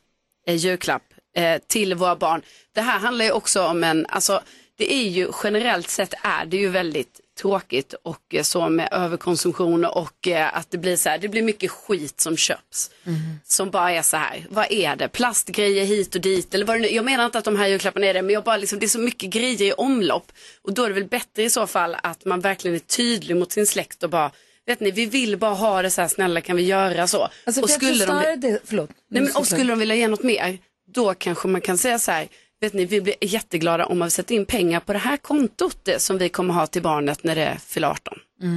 S3: eh, julklapp eh, till våra barn. Det här handlar ju också om en, alltså det är ju generellt sett är det ju väldigt tråkigt och eh, så med överkonsumtion och eh, att det blir så här, det blir mycket skit som köps
S12: Mm.
S3: som bara är så här, vad är det, plastgrejer hit och dit eller vad det nu, jag menar inte att de här julklapparna är det, men jag bara liksom, det är så mycket grejer i omlopp och då är det väl bättre i så fall att man verkligen är tydlig mot sin släkt och bara, vet ni, vi vill bara ha det så här, snälla kan vi göra så?
S1: Alltså,
S3: och
S1: för jag förstår
S3: vi-
S1: det, förlåt.
S3: Nej, men, och skulle de vilja ge något mer, då kanske man kan säga så här, vet ni, vi blir jätteglada om man sätter in pengar på det här kontot eh, som vi kommer ha till barnet när det fyller 18.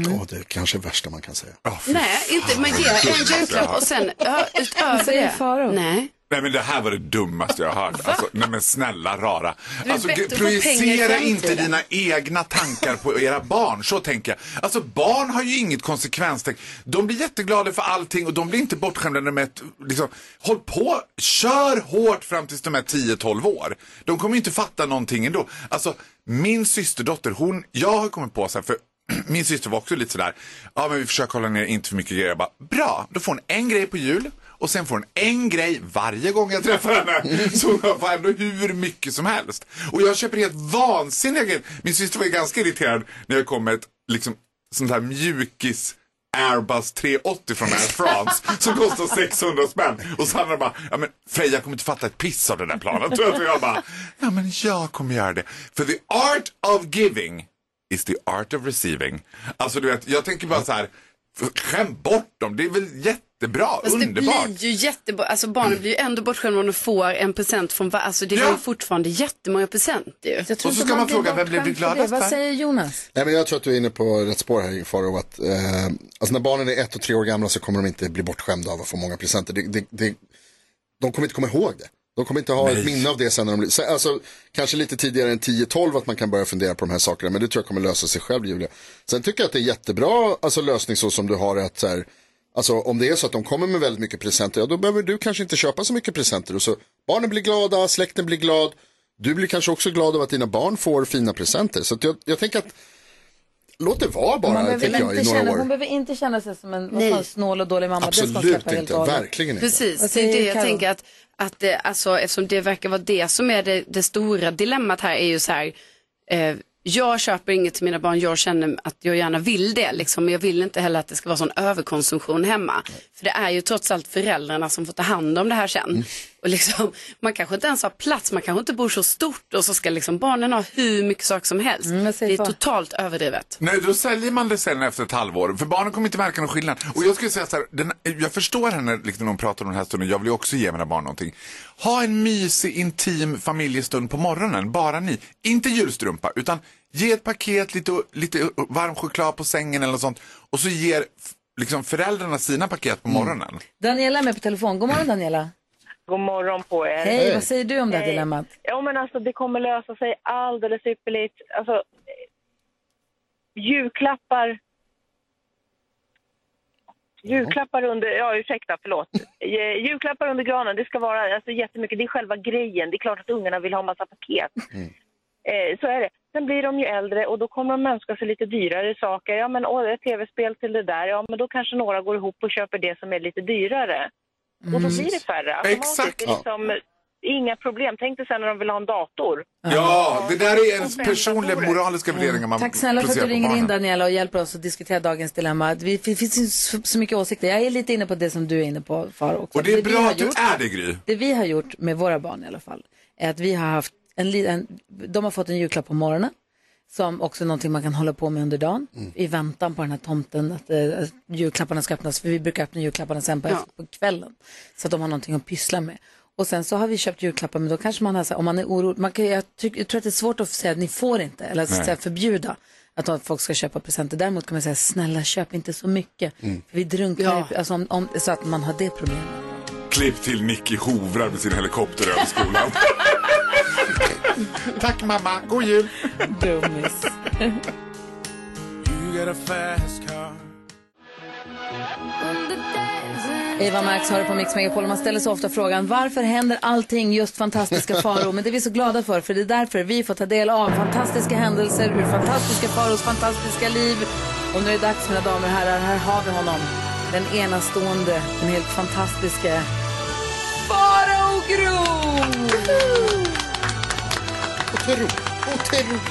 S4: Åh, det är kanske det värsta man kan säga.
S3: Mm. Nej, inte, man ger en julklapp och sen ö,
S1: Vad
S3: utöver
S1: säger
S3: det.
S1: Faro?
S3: Nej.
S12: Nej men det här var det dummaste jag har hört. Alltså, nej men snälla rara.
S3: Det är
S12: Alltså,
S3: bättre
S12: g-
S3: att få pengar i
S12: projicera
S3: framtiden.
S12: inte dina egna tankar på era barn, så tänker jag. Alltså barn har ju inget konsekvenstänk. De blir jätteglada för allting och de blir inte bortskämda med ett, liksom, håll på, kör hårt fram tills de är 10-12 år. De kommer ju inte fatta någonting ändå. Alltså min systerdotter, hon, jag har kommit på så här, för min syster var också lite sådär, ja men vi försöker hålla ner inte för mycket grejer. Jag bara, bra, då får hon en grej på jul och sen får hon en grej varje gång jag träffar henne. Så hon får ändå hur mycket som helst. Och jag köper helt vansinniga grejer. Min syster var ju ganska irriterad när jag kom med ett liksom, sånt här mjukis Airbus 380 från Air France som kostar 600 spänn. Och Sandra bara, ja men Freja kommer inte fatta ett piss av det där planet. Och jag bara, ja men jag kommer göra det. För the art of giving is the art of receiving. Alltså du vet, jag tänker bara så här, f- skäm bort dem, det är väl jättebra,
S3: Fast det
S12: underbart.
S3: blir ju jättebra, alltså barnen blir ju ändå bortskämda om de får en present från var- alltså det
S12: Ja.
S3: var ju fortfarande jättemånga present ju.
S1: Jag tror
S12: Och så
S1: inte
S12: ska
S1: man
S12: man
S1: blir
S12: fråga, vem blev du
S1: bortskämd för
S12: gladast
S1: det. Vad
S12: för?
S1: säger Jonas?
S4: Nej, men jag tror att du är inne på rätt spår här Faro, att eh, alltså när barnen är ett och tre år gamla så kommer de inte bli bortskämda av att få många presenter. Det, det, det, de kommer inte komma ihåg det. De kommer inte ha ett minne av det sen när de blir, sen- alltså, kanske lite tidigare än 10-12 att man kan börja fundera på de här sakerna, men det tror jag kommer lösa sig själv Julia. Sen tycker jag att det är jättebra alltså, lösning så som du har att så här, alltså, om det är så att de kommer med väldigt mycket presenter, ja då behöver du kanske inte köpa så mycket presenter och så barnen blir glada, släkten blir glad, du blir kanske också glad av att dina barn får fina presenter. Så att jag, jag tänker att Låt det vara
S1: Man
S4: bara,
S1: behöver
S4: tänker jag, i
S1: inte
S4: några
S1: känna,
S4: år.
S1: hon behöver inte känna sig som en vad sa hon, snål och dålig mamma. det ska hon
S4: Absolut
S1: släppa helt
S4: inte,
S1: och hållet.
S4: verkligen inte.
S3: Precis,
S1: Vad
S3: det är det
S1: säger
S3: jag
S1: Karo?
S3: tänker att, att det, alltså, eftersom det verkar vara det som är det, det stora dilemmat här är ju så här, eh, jag köper inget till mina barn, jag känner att jag gärna vill det, liksom, men jag vill inte heller att det ska vara sån överkonsumtion hemma. För det är ju trots allt föräldrarna som får ta hand om det här sen. Och liksom, man kanske inte ens har plats, man kanske inte bor så stort och så ska liksom barnen ha hur mycket saker som helst. det är totalt överdrivet.
S12: Nej, då säljer man det sen efter ett halvår. För barnen kommer inte märka någon skillnad. Och jag skulle säga så här, den, jag förstår henne liksom, när hon pratar om den här stunden. Jag vill ju också ge mina barn någonting. Ha en mysig, intim familjestund på morgonen, bara ni. Inte julstrumpa, utan ge ett paket, lite, lite varm choklad på sängen eller något sånt. Och så ger f- liksom, föräldrarna sina paket
S1: Mm.
S12: på morgonen.
S1: Daniela är med på telefon. God morgon Daniela.
S13: God morgon på er.
S1: Hej, vad säger du om det här
S13: Hej.
S1: dilemmat?
S13: Ja, men alltså, det kommer lösa sig alldeles ypperligt. Alltså, eh, julklappar... Julklappar under... Ja, ursäkta, förlåt. Eh, julklappar under granen, det ska vara alltså, jättemycket. Det är själva grejen. Det är klart att ungarna vill ha massa paket.
S4: Mm.
S13: Eh, så är det. Sen blir de ju äldre och då kommer de önska sig lite dyrare saker. Ja, men åh, det är ett tv-spel till det där. Ja, men då kanske några går ihop och köper det som är lite dyrare. Och då
S12: Mm.
S13: blir det färre. automatiskt.
S12: Exakt.
S13: Det är liksom, Inga problem. Tänk dig sen när de vill ha en dator.
S12: Ja, det där är
S13: Och
S12: ens
S13: sen-
S12: personliga moraliska värderingar man
S1: Mm. Tack snälla för att du
S12: projicerar på
S1: ringer in
S12: barnen.
S1: Daniela och hjälper oss att diskutera dagens dilemma. Vi, det finns ju så, så mycket åsikter. Jag är lite inne på det som du är inne på Faro också.
S12: Och det är
S1: vi
S12: bra
S1: har
S12: att du
S1: gjort-
S12: är det, Gry.
S1: Det vi har gjort med våra barn i alla fall är att vi har haft en, li- en de har fått en julklapp på morgonen som också är någonting man kan hålla på med under dagen i väntan på den här tomten att eh, att julklapparna ska öppnas för vi brukar öppna julklapparna sen på,
S3: Ja.
S1: efter- på kvällen så att de har någonting att pyssla med. Och sen så har vi köpt julklappar men då kanske man har så här, om man är orolig, man kan, jag, tyck, jag tror att det är svårt att säga att ni får inte eller att
S7: Nej.
S1: säga förbjuda att folk ska köpa presenter. Däremot kan man säga snälla köp inte så mycket
S12: Mm.
S1: för vi drunknar i- alltså, om, om, så att man har det problemet.
S12: Klipp till Nicky hovrar med sin helikopter över skolan. Tack mamma, god jul.
S1: Dummis.
S14: You got a fast car.
S1: Eva Max har det på Mix Megapol. Man ställer sig ofta frågan varför händer allting just fantastiska faror? Men det är vi så glada för, för det är därför vi får ta del av fantastiska händelser ur fantastiska faros fantastiska liv. Och nu är det dags mina damer och herrar, här har vi honom. Den enastående, den helt fantastiska Farao Groth!
S4: Otroligt. Otroligt.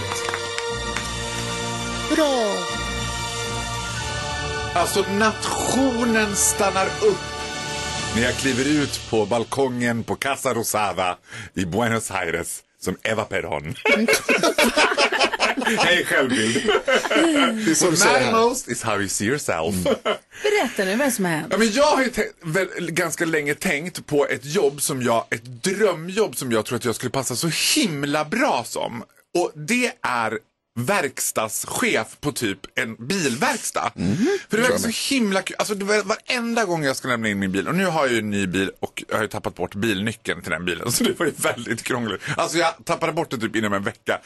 S4: Bra.
S12: Alltså nationen stannar upp när jag kliver ut på balkongen på Casa Rosada i Buenos Aires som Eva Perón. Hej självbild.
S4: Det är så vi säger
S12: What
S4: här.
S12: matters most is how you see yourself.
S1: Berätta nu, vad är det som har hänt?
S12: Ja, men jag har ju te- väl, ganska länge tänkt på ett jobb som jag, ett drömjobb som jag tror att jag skulle passa så himla bra som. Och det är verkstadschef på typ en bilverkstad. För det verkar så himla kul. Alltså det var varenda gång jag ska lämna in min bil och nu har jag ju en ny bil och jag har ju tappat bort bilnyckeln till den bilen så det var ju väldigt krångligt. Alltså jag tappade bort den typ inom en vecka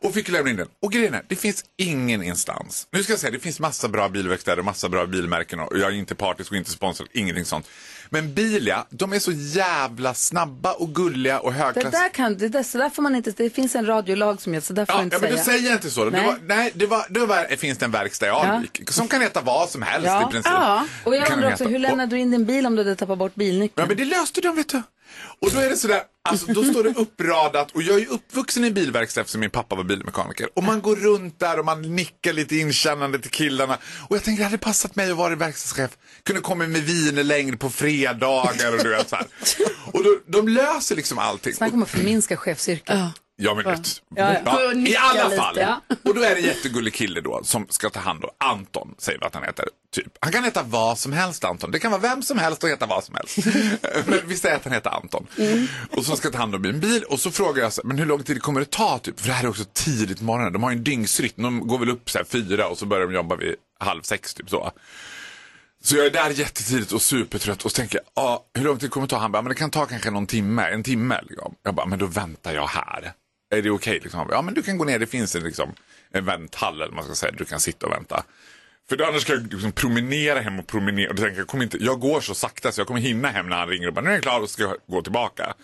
S12: och fick lämna in den. Och grejen är, det finns ingen instans. Nu ska jag säga, det finns massa bra bilverkstäder och massa bra bilmärken och jag är inte partisk och inte sponsrad, ingenting sånt. Men Bilia, de är så jävla snabba och gulliga och
S1: Det
S12: högklassiga.
S1: där kan, det där, så där får man inte, det finns en radiolag som heter så där får
S12: Ja,
S1: du inte
S12: ja, men
S1: säga.
S12: du säger inte så. Nej,
S1: Nej.
S12: det var, nej det var, det var, finns det en verkstad i Alvik som kan heta vad som helst i princip.
S1: Och jag
S12: Kan
S1: undrar
S12: de
S1: också,
S12: heta.
S1: hur lämnar du in din bil om du hade tappat bort bilnyckeln?
S12: Ja, men det löste de, vet du. Och då är det sådär, alltså då står det uppradat och jag är ju uppvuxen i bilverkstad eftersom min pappa var bilmekaniker. Och man går runt där och man nickar lite inkännande till killarna. Och jag tänkte, det hade passat mig att vara verkstadschef. Kunde komma med vinerlängd på fredagar och du vet så här. Och då, de löser liksom allting.
S1: Snacka om att förminska chefsyrket.
S12: Ja men
S1: Ja.
S12: vet.
S1: Ja,
S12: Ja,
S1: ja. Gå och
S12: I
S1: nicka
S12: alla
S1: lite,
S12: fall.
S1: ja.
S12: Och då är det en jättegullig kille då som ska ta hand om Anton, säger vi att han heter. Typ. Han kan heta vad som helst Anton. Det kan vara vem som helst och heta vad som helst. men vi säger att han heter Anton.
S1: Mm.
S12: Och som ska ta hand om min bil. Och så frågar jag så här, men hur lång tid kommer det ta typ? För det här är också tidigt på morgonen. De har ju en dygnsrytm. De går väl upp så här fyra och så börjar de jobba vid halv sex typ så. Så jag är där jättetidigt och supertrött och så tänker jag, ah, hur lång tid kommer det ta? Han bara, men det kan ta kanske någon timme, en timme. Liksom. Jag bara, men då väntar jag här. Är det okej? Liksom. Han bara, Ja, men du kan gå ner, det finns en, liksom, en vänthall eller vad man ska säga, du kan sitta och vänta. För då annars ska jag liksom promenera hem och promenera och då tänker jag, jag, kommer inte, jag går så sakta så jag kommer hinna hem när han ringer och bara, nu är jag klar och ska jag gå tillbaka.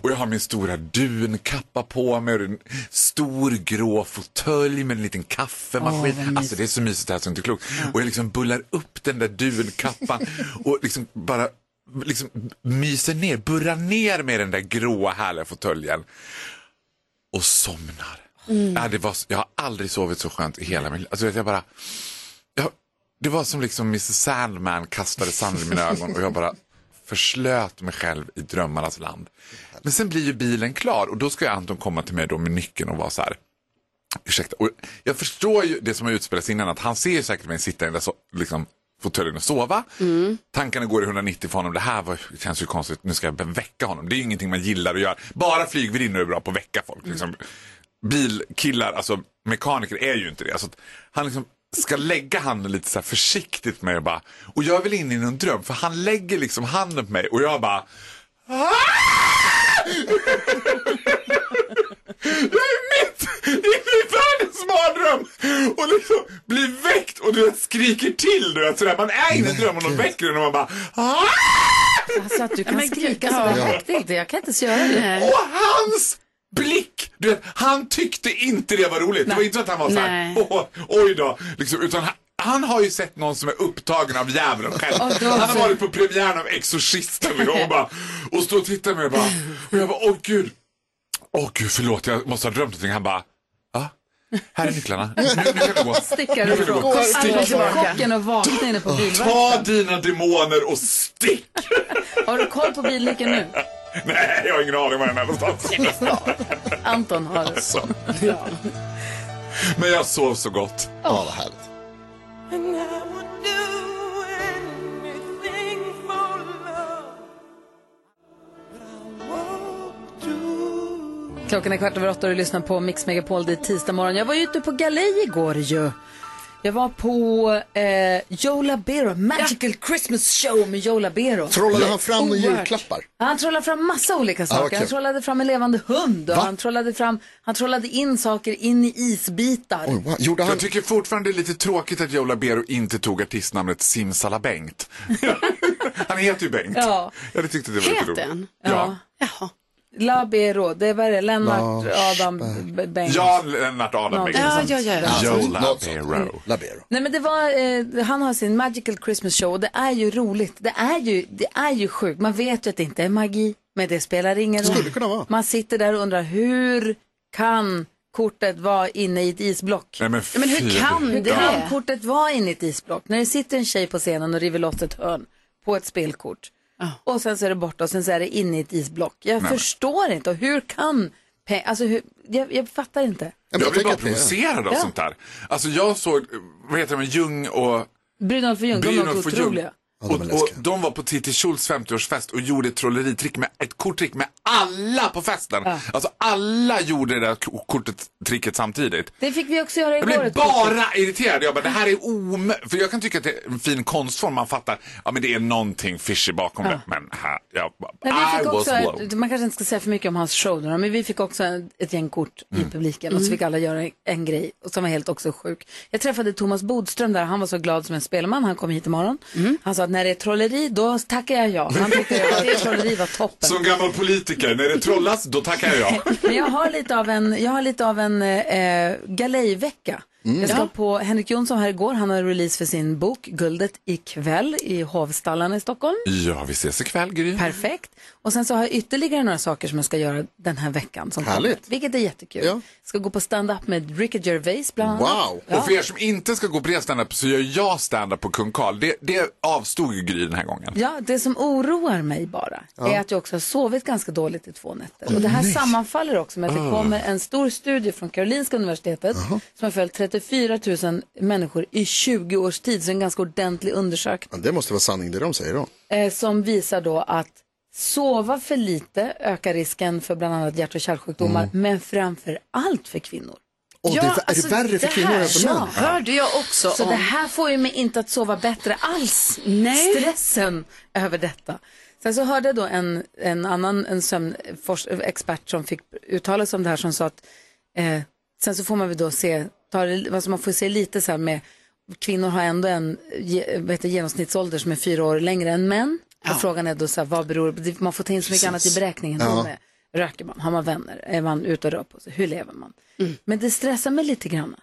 S12: Och jag har min stora dunkappa på mig och en stor grå fåtölj med en liten kaffemaskin. alltså det är så mysigt här så det är inte klokt. Och jag liksom bullar upp den där dunkappan och liksom bara liksom myser ner, burrar ner med den där gråa härliga fåtöljen. Och somnar.
S15: Mm.
S12: Ja, det var, så- jag har aldrig sovit så skönt i hela min liv. Alltså, vet jag bara, jag, det var som liksom Mrs Sandman kastade sand i mina ögon och jag bara förslöt mig själv i drömmarnas land. Men sen blir ju bilen klar och då ska ju Anton komma till mig då med nyckeln och vara så här. Ursäkta. Och jag förstår ju det som har utspelats innan att han ser ju säkert mig sitta i den där so- liksom, fåtöljen och sova. Tankarna går i 190 för honom. Det här var, känns ju konstigt. Nu ska jag väcka honom. Det är ju ingenting man gillar att göra. Bara flygvärdinnor är bra på att väcka folk. Liksom. Bilkillar, alltså mekaniker är ju inte det. Alltså, att han liksom ska lägga handen lite så här försiktigt med och bara. Och jag är väl inne i någon dröm för han lägger liksom handen på mig och jag bara. i min världens mardröm och liksom blir väckt och du vet, skriker till. Du vet, sådär. Man är inne i en dröm och någon väcker en och man bara "Ah!"
S1: Alltså att du kan
S3: Men gud,
S1: skrika
S3: ja.
S1: sådär högt, det är inte- jag kan inte ens göra det.
S12: Och hans blick! Du vet, han tyckte inte det var roligt. Det var inte så att han var så här,
S3: Nej.
S12: "Åh, oj då. Liksom, utan han, han har ju sett någon som är upptagen av djävulen själv.
S3: Och då-
S12: Han har varit på premiären av Exorcisten och, bara, och står och tittar på mig och bara, och jag bara, åh gud. Åh gud, förlåt, jag måste ha drömt någonting. Han bara, ja, här är nycklarna. Nu, nu kan du gå. Nu
S1: Stickar
S12: kan du
S1: ifrån.
S12: gå.
S1: Aldrig
S12: Stick.
S1: tillbaka. Chocken och vakna inne på bilverkstaden.
S12: Ta dina demoner och stick!
S1: Har du koll på bilnyckeln nu?
S12: Nej, jag har ingen aning var den är någonstans.
S1: Anton har det.
S4: Alltså.
S12: Men jag sov så gott.
S4: Ja, vad härligt.
S1: Klockan är kvart över åtta och du lyssnar på Mix Megapol. Det är tisdag morgon. Jag var ju ute på galej igår ju. Jag var på eh, Joe Labero, Magical Christmas Show med Joe Labero.
S4: Trollade han fram några
S1: Oerhört.
S4: julklappar?
S1: Han trollade fram massa olika saker.
S4: Ah, okej.
S1: Han trollade fram en levande hund och
S4: Va?
S1: han trollade, fram, han trollade in saker in i isbitar.
S12: Jag tycker fortfarande det är lite tråkigt att Joe Labero inte tog artistnamnet Simsalabängt. han heter ju Bengt.
S1: Ja.
S12: Jag hade tyckt att det var lite
S1: Heter
S12: roligt.
S1: han?
S12: Ja.
S1: Labero, det var det, Lennart,
S12: Lars
S1: Adam, B- Bengt.
S12: Jan Lennart Adam
S1: Något
S12: Bengt.
S1: sånt. Ja, ja, ja, ja.
S12: Joe
S1: Något Mm,
S12: Labero.
S4: Labero.
S1: Nej men det var, eh, han har sin Magical Christmas Show och det är ju roligt. Det är ju, det är ju sjukt. Man vet ju att det inte är magi, men det spelar ingen roll. Skulle kunna vara. Man sitter där och undrar hur kan kortet vara inne i ett isblock?
S12: Nej, men
S3: Men hur fy- kan
S1: hur
S3: det?
S1: kan kortet vara inne i ett isblock? När det sitter en tjej på scenen och river loss ett hörn på ett spelkort.
S3: Ah.
S1: Och sen så är det borta och sen så är det inne i ett isblock. Jag
S12: Nej, men-
S1: förstår inte. Och hur kan, pe- alltså hur, jag, jag fattar inte.
S12: Jag blir bara provocerad av
S1: Ja.
S12: sånt där. Alltså jag såg, vad heter de, Ljung och
S1: Brynolf och Ljung, de låter
S12: Brynolf och Ljung.
S1: otroliga.
S12: Och, och de var på Titti Schultz 50-årsfest och gjorde ett trolleritrick med, ett korttrick med alla på festen. Alltså alla gjorde det där ko- kortet, tricket samtidigt.
S1: Det fick vi också göra
S12: Jag
S1: igår.
S12: blev
S1: ett korttrick.
S12: bara irriterad. Jag bara, det här är omöjligt. För jag kan tycka att det är en fin konstform. Man fattar, ja men det är någonting fishy bakom
S1: Ja.
S12: det. Men här, jag,
S1: Nej, vi
S12: I
S1: fick
S12: was
S1: också,
S12: blown.
S1: ett, man kanske inte ska säga för mycket om hans show, då, men vi fick också en- ett gäng kort i publiken och så
S3: Mm.
S1: fick alla göra en grej och som var helt också sjuk. Jag träffade Thomas Bodström där, han var så glad som en spelman, han kom hit imorgon.
S12: Mm.
S1: Han sa att när det är trolleri, då tackar jag ja. Han tyckte att det trolleri var toppen.
S12: Som gammal politiker, när det trollas, då tackar jag.
S1: Men jag har lite av en, jag har lite av en eh, galejvecka.
S12: Mm.
S1: Jag ska
S12: Ja.
S1: på Henrik Jonsson här igår, han har release för sin bok Guldet ikväll i Hovstallarna i Stockholm.
S12: Ja, vi ses ikväll, Gry.
S1: Perfekt. Och sen så har jag ytterligare några saker som jag ska göra den här veckan. Som
S12: Härligt.
S1: kommer, vilket är jättekul. Ska gå på stand-up med Ricky Gervais bland annat.
S12: Wow!
S1: Ja.
S12: Och för er som inte ska gå på det stand-up så gör jag stand-up på Kung Karl. Det, det avstod ju Gry den här gången.
S1: Ja, det som oroar mig bara
S12: Ja.
S1: är att jag också har sovit ganska dåligt i två nätter. Och det här
S12: Nej.
S1: sammanfaller också med att det
S12: Ah.
S1: kommer en stor studie från Karolinska universitetet som har följt 34 000 människor i 20 års tid, så en ganska ordentlig undersökning.
S4: Ja, Det måste vara sanning det de säger då.
S1: eh, som visar då att sova för lite ökar risken för bland annat hjärt och kärlsjukdomar, men framför allt för kvinnor.
S4: Mm. Åh, det är- är det värre för kvinnor än för män?
S1: alltså, Ja, hörde jag också Så
S3: om.
S1: det här får ju mig inte att sova bättre alls.
S3: Nej.
S1: Stressen över detta. Sen så hörde jag då en, en annan en sömnexpert som fick uttala sig om det här som sa att eh, sen så får man väl då se, ta, det- alltså man får se lite så här med kvinnor har ändå en ge- vad heter, det, genomsnittsålder som är fyra år längre än män. Och frågan är då så här, vad beror det Man får ta in så mycket annat i
S3: Precis.
S1: beräkningen.
S3: Ja.
S1: Med. Röker man? Har man vänner? Är man ute och rör på sig? Hur lever man?
S3: Mm.
S1: Men det stressar mig lite grann.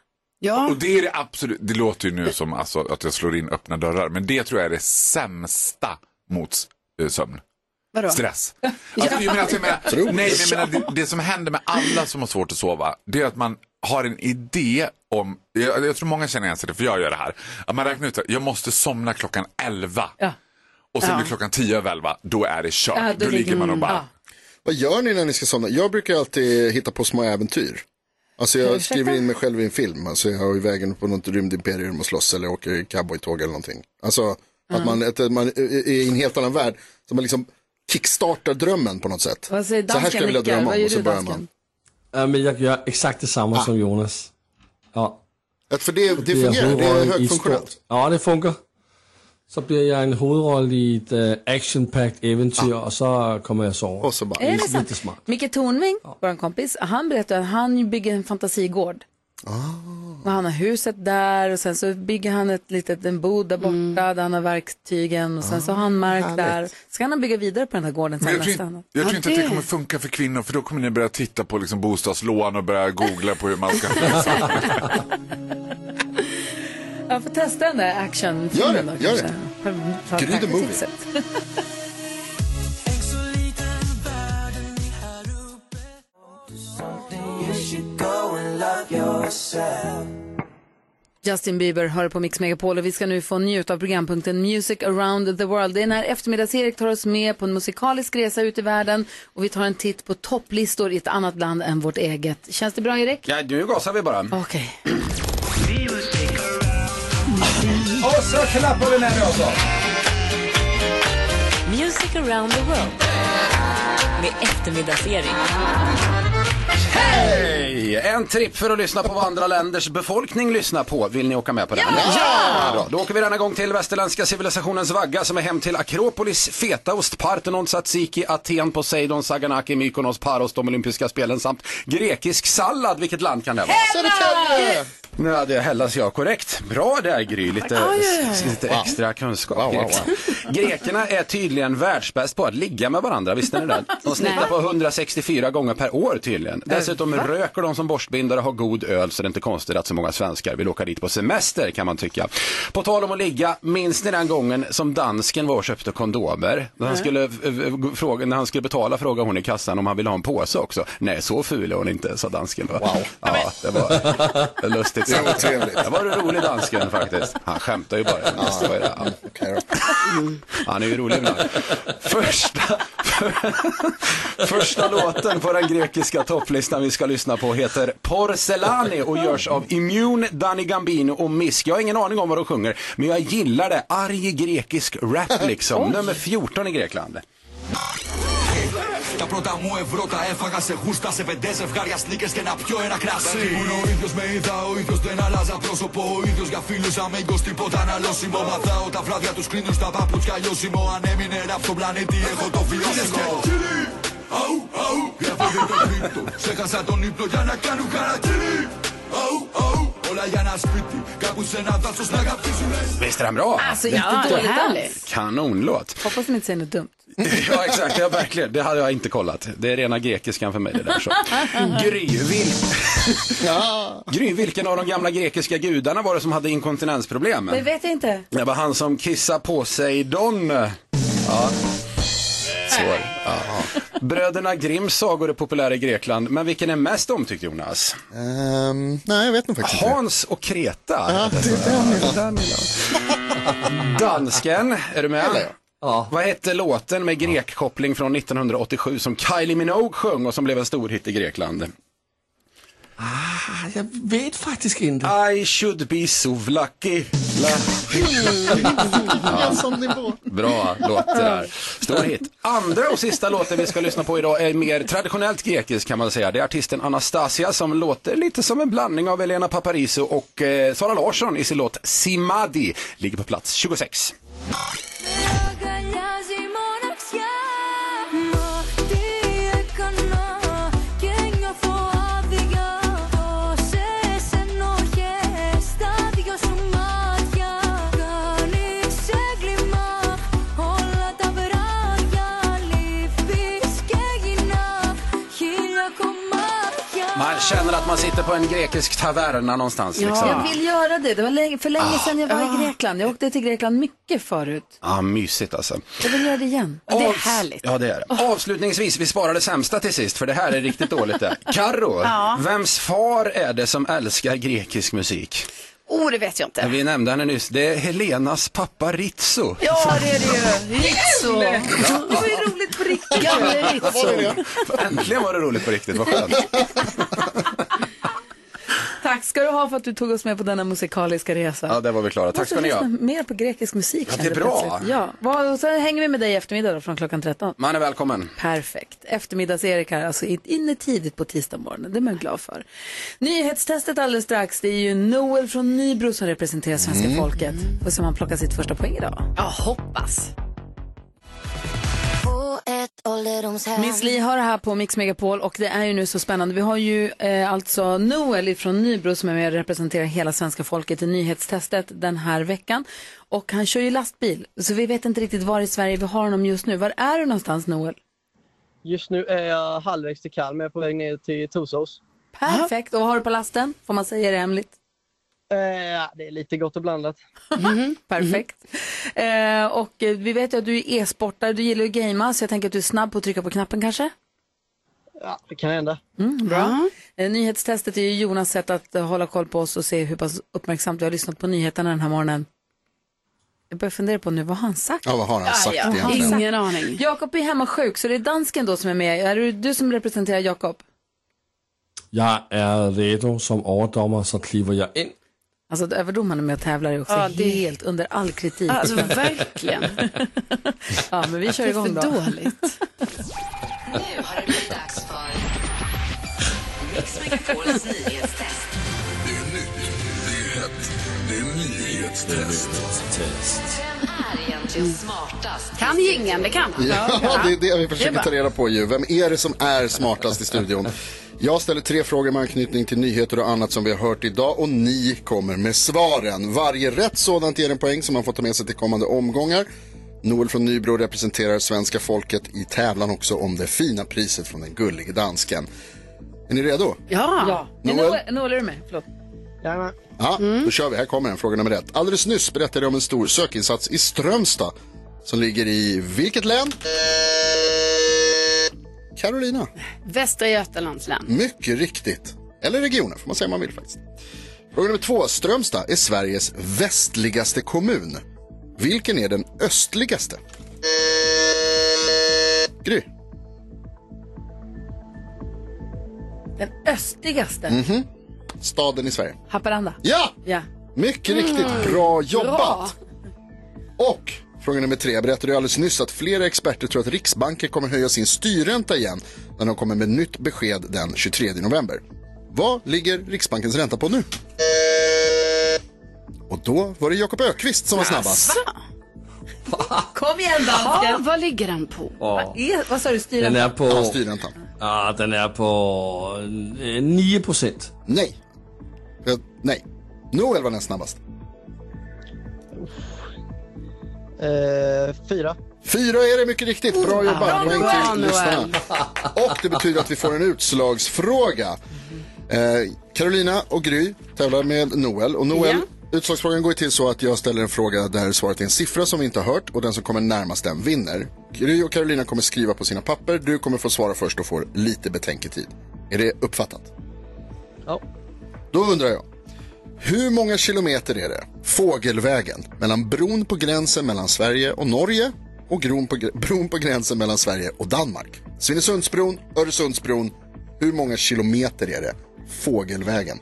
S12: Och det är det absolut, det låter ju nu som alltså, att jag slår in öppna dörrar, men det tror jag är det sämsta mot eh, sömn.
S3: Vadå?
S12: Stress. Alltså, jag menar, alltså, jag menar,
S3: Tror
S12: nej,
S3: jag.
S12: men jag menar, det, det som händer med alla som har svårt att sova, det är att man har en idé om, jag, jag tror många känner igen sig i det, för jag gör det här, att man räknar ut att jag måste somna klockan 11 och sen
S4: Ja.
S12: blir klockan 10 över 11, då är det kört.
S4: Ja,
S12: då, ligger man och bara,
S4: Vad gör ni när ni ska somna? Jag brukar alltid hitta på små äventyr. Alltså jag
S1: Ursäkta?
S4: skriver in mig själv i en film. Alltså jag är iväg på något rymdimperium och slåss eller åker i cowboytåg eller någonting. Alltså att, man, att man är i en helt annan värld. Så man liksom kickstartar drömmen på något sätt.
S1: Vad säger
S4: så här
S1: dansken,
S4: skulle jag vilja drömma
S1: Rickard? Vad
S4: om
S1: gör
S4: och så
S1: du,
S4: börjar
S1: dansken?
S4: man.
S5: Ja, men jag gör exakt detsamma som Jonas. Ja.
S4: För det, Ah. det
S5: Bliver
S4: fungerar, det
S5: hovedrollen
S4: är
S5: i
S4: högfunktionellt.
S5: stort- Ja, det funkar. Så blir jag en hovedrolle i ett uh, action-packed äventyr och så kommer jag sova. Och
S4: Ah. så bara.
S1: Är det
S5: lite,
S1: sant?
S5: lite smart.
S1: Micke Tornving, vår kompis, han berättade att han bygger en fantasigård.
S12: Ah.
S1: Och han har huset där och sen så bygger han ett litet, en bod där borta där han har verktygen och sen så har han mark
S12: Ah, Härligt.
S1: där. Ska han bygga vidare på den här gården
S12: Men
S1: sen
S12: jag tror,
S1: nästa
S12: inte- jag tror inte att det kommer funka för kvinnor för då kommer ni börja titta på liksom bostadslån och börja googla på hur man ska...
S1: Jag får testa den där actionfilmen
S12: Gör det,
S1: då
S12: gör
S1: kanske. För- för-
S12: Gry the
S1: för-
S12: movie.
S1: tipset. Justin Bieber hör på Mix Megapol och vi ska nu få njuta av programpunkten Music around the world. Det är när eftermiddags-Erik tar oss med på en musikalisk resa ut i världen och vi tar en titt på topplistor i ett annat land än vårt eget. Känns det bra Erik?
S14: Ja, nu gasar vi bara.
S1: Okej.
S14: Och så klappar vi med det också.
S7: Music around the world. Med eftermiddagsserie.
S14: Hej! En tripp för att lyssna på vad andra länders befolkning lyssnar på. Vill ni åka med på den? Ja! Bra. Då åker vi denna gång till västerländska civilisationens vagga som är hem till Akropolis, fetaost, Parthenon, tzatziki, Aten, Poseidon, Saganaki, Mykonos, Paros, de olympiska spelen samt grekisk sallad. Vilket land kan det vara?
S4: Södertälje!
S14: Nu hade jag Hellas ja, korrekt. Bra där Gry, lite,
S4: Ja, ja, ja.
S14: lite
S4: Wow.
S14: extra kunskap.
S4: wow, wow.
S14: Grekerna är tydligen världsbäst på att ligga med varandra, visste ni det? De snittar
S15: Nej.
S14: på 164 gånger per år tydligen.
S4: Äh,
S14: Dessutom
S15: va?
S14: röker de som borstbindare och har god öl så det är inte konstigt att så många svenskar vill åka dit på semester kan man tycka. På tal om att ligga, minns ni den gången som dansken var och köpte kondomer? När han
S15: Nej.
S14: skulle, eh, eh, fråga, när han skulle betala frågade hon i kassan om han ville ha en påse också. Nej, så ful är hon inte, sa dansken. Wow. Ja, det var lustigt.
S4: Det var trevligt.
S14: Det var en rolig dansken faktiskt. Han skämtar ju bara. Det var ju det. Ja. Han är ju rolig ibland. Första, första låten på den grekiska topplistan vi ska lyssna på heter Porcelani och görs av Immune, Danny Gambino och Misk. Jag har ingen aning om vad de sjunger, men jag gillar det. Arg grekisk rap liksom.
S16: Oj.
S14: Nummer 14 i Grekland.
S16: Τα πρώτα μου ευρώ τα έφαγα σε γούστα, σε πεντέ ζευγάρια σνίκες και να πιω ένα κρασί.
S17: Δεν ήμουν ο ίδιο, με είδα ο ίδιο, δεν αλλάζα πρόσωπο. Ο ίδιο για φίλου αμέγκο, τίποτα αναλώσιμο. Μαθάω τα βράδια του κρίνου, τα παπούτσια λιώσιμο. Αν έμεινε ένα από τον πλανήτη, έχω το βιώσιμο. Χαρακτήρι, αου, αου, γράφεται το κρύπτο. Ξέχασα τον ύπνο για να κάνω χαρακτήρι. Αου, αου, όλα για ένα σπίτι. Κάπου σε ένα δάσο να αγαπήσουμε.
S14: Visst är den bra?
S1: Alltså, inte dåligt alls.
S14: Kanonlåt.
S1: Hoppas de inte säger något dumt.
S14: Ja, exakt. Ja, verkligen. Det hade jag inte kollat. Det är rena grekiskan för mig det där. Så. Gry, vil... Gry, vilken av de gamla grekiska gudarna var det som hade inkontinensproblem?
S1: Det vet jag inte.
S14: Det var han som kissade på sig Don. Ja. Så. är det. Ja. Bröderna Grimms sagor är populära i Grekland, men vilken är mest omtyckt Jonas?
S4: Ehm, nej, jag vet nog faktiskt inte.
S14: Hans och Kreta.
S4: Ja, det är den jag gillar.
S14: Dansken, är du med? Ja. Vad hette låten med grekkoppling från 1987 som Kylie Minogue sjöng och som blev en stor hit i Grekland?
S5: Jag vet faktiskt inte.
S14: I should be so lucky. La... Bra låt det där. Stor hit. Andra och sista låten vi ska lyssna på idag är mer traditionellt grekisk kan man säga. Det är artisten Anastasia som låter lite som en blandning av Elena Paparizou och eh, Sara Larsson i sin låt Simadi. Ligger på plats 26.
S15: Αγκαλιάζει η μοναξιά Μα τι έκανα και νιώθω άδεια Τόσες ενοχές στα δυο σου μάτια Κάνεις έγκλημα όλα τα βράδια Λείπεις και γίνα χίλια κομμάτια
S14: Man känner att man sitter på en grekisk taverna någonstans. Liksom. Ah.
S1: Jag vill göra det. Det var länge, för länge sedan jag var i Grekland. Jag åkte till Grekland mycket förut.
S14: Ja, mysigt alltså.
S1: Jag vill göra det igen. Och det är härligt.
S14: Ja, det är det. Avslutningsvis, vi sparar det sämsta till sist, för det här är riktigt dåligt det. Karo,
S3: Ja.
S14: vems far är det som älskar grekisk musik?
S3: Oh, det vet jag inte.
S14: Vi nämnde henne nyss. Det är Helenas pappa Ritzo.
S3: Ja, det är det ju. Ritzo.
S1: Det var ju roligt på riktigt. Gamle Ritzo.
S14: Äntligen var det roligt på riktigt, vad skönt.
S1: Tack ska du ha för att du tog oss med på denna musikaliska resa.
S14: Ja, där var vi klara. Tack ska ni ha.
S1: lyssna mer på grekisk musik.
S14: Ja, det
S1: kände
S14: är
S1: jag
S14: bra.
S1: plötsligt. Ja. Vad- och Så hänger vi med dig i eftermiddag då, från klockan 13.
S14: Man är välkommen.
S1: Perfekt. Eftermiddags-Erik här, alltså in- inne tidigt på tisdag morgon. Det är man glad för. Nyhetstestet alldeles strax. Det är ju Noel från Nybro som representerar svenska
S7: Mm.
S1: folket. Och som han plockat sitt första poäng idag.
S7: Jag hoppas.
S1: På ett ålderdomshem. Miss Li har det här på Mix Megapol och det är ju nu så spännande. Vi har ju eh, alltså Noel från Nybro som är med och representerar hela svenska folket i nyhetstestet den här veckan. Och han kör ju lastbil, så vi vet inte riktigt var i Sverige vi har honom just nu. Var är du någonstans Noel?
S18: Just nu är jag halvvägs till Kalmar på väg ner till Torsås.
S1: Perfekt. Och vad har du på lasten? Får man säga det hemligt?
S18: Eh, det är lite gott och blandat.
S1: Perfekt. Eh, och eh, vi vet ju att du är e-sportare, du gillar ju att gamea, så jag tänker att du är snabb på att trycka på knappen kanske?
S18: Ja, det kan hända.
S1: Mm, bra. Eh, Nyhetstestet är ju Jonas sätt att eh, hålla koll på oss och se hur pass uppmärksamt vi har lyssnat på nyheterna den här morgonen. Jag börjar fundera på nu, vad har han sagt?
S4: Ja, vad har han sagt egentligen?
S1: Ingen aning. Jakob är hemma sjuk, så det är dansken då som är med. Är det du som representerar Jakob?
S5: Jag är redo som återdomare så kliver jag in.
S1: Alltså att överdomarna med och tävlar är också
S3: Ja, det-
S1: helt under all kritik.
S3: Alltså, verkligen.
S1: ja, men vi kör
S3: Det är för
S1: igång då.
S3: dåligt.
S7: Nu har det blivit dags för Mix Megapols nyhetstest.
S17: Det är nyhetstest.
S7: Vem är egentligen smartast?
S3: Kan gingen, det kan han.
S4: Ja, det är det vi
S3: Det
S4: försöker
S3: är
S4: ta reda på ju. Vem är det som är smartast i studion? Jag ställer tre frågor med anknytning till nyheter och annat som vi har hört idag och ni kommer med svaren. Varje rätt sådant ger en poäng som man får ta med sig till kommande omgångar. Noel från Nybro representerar svenska folket i tävlan också om det fina priset från den gullige dansken. Är ni redo?
S1: Ja. ja. Men
S4: Noel?
S1: Noel, Noel, är Mm. du med? Förlåt.
S18: Jajamän.
S4: Ja, då kör vi. Här kommer den, fråga nummer ett. Alldeles nyss berättade jag om en stor sökinsats i Strömstad som ligger i vilket län? Carolina.
S3: Västra Götalands län.
S4: Mycket riktigt. Eller regionen, får man säga om man vill faktiskt. Fråga nummer två. Strömstad är Sveriges västligaste kommun. Vilken är den östligaste? Gry.
S1: Den östligaste.
S4: Mhm. Staden i Sverige.
S1: Mm. Haparanda.
S4: Ja!
S1: Ja.
S4: Mycket riktigt.
S1: Mm.
S4: Bra jobbat! Och fråga nummer tre. Jag berättade ju alldeles nyss att flera experter tror att Riksbanken kommer höja sin styrränta igen när de kommer med nytt besked den 23 november. Vad ligger Riksbankens ränta på nu? Och då var det Jakob Ökvist som var snabbast.
S1: Kom igen dansken!
S3: Ja, vad ligger den på?
S5: Ja.
S1: Är, vad sa du, styra?
S5: Den är
S4: Ja,
S5: på...
S4: styrräntan.
S5: Ja, den är på eh, 9 procent.
S4: Nej. Eh, Nej. Noel var den snabbast.
S18: Eh, fyra.
S4: Fyra är det mycket riktigt. Bra jobbat. Poäng
S18: Bra,
S4: till
S18: Noel.
S4: lyssnarna. Och det betyder att vi får en utslagsfråga. Eh, Carolina och Gry tävlar med Noel. Och Noel, utslagsfrågan går ju till så att jag ställer en fråga där svaret är en siffra som vi inte har hört och den som kommer närmast den vinner. Gry och Carolina kommer skriva på sina papper. Du kommer få svara först och får lite betänketid. Är det uppfattat?
S18: Ja.
S4: Då undrar jag. Hur många kilometer är det fågelvägen mellan bron på gränsen mellan Sverige och Norge och bron på, gr- bron på gränsen mellan Sverige och Danmark? Svinesundsbron, Öresundsbron. Hur många kilometer är det fågelvägen?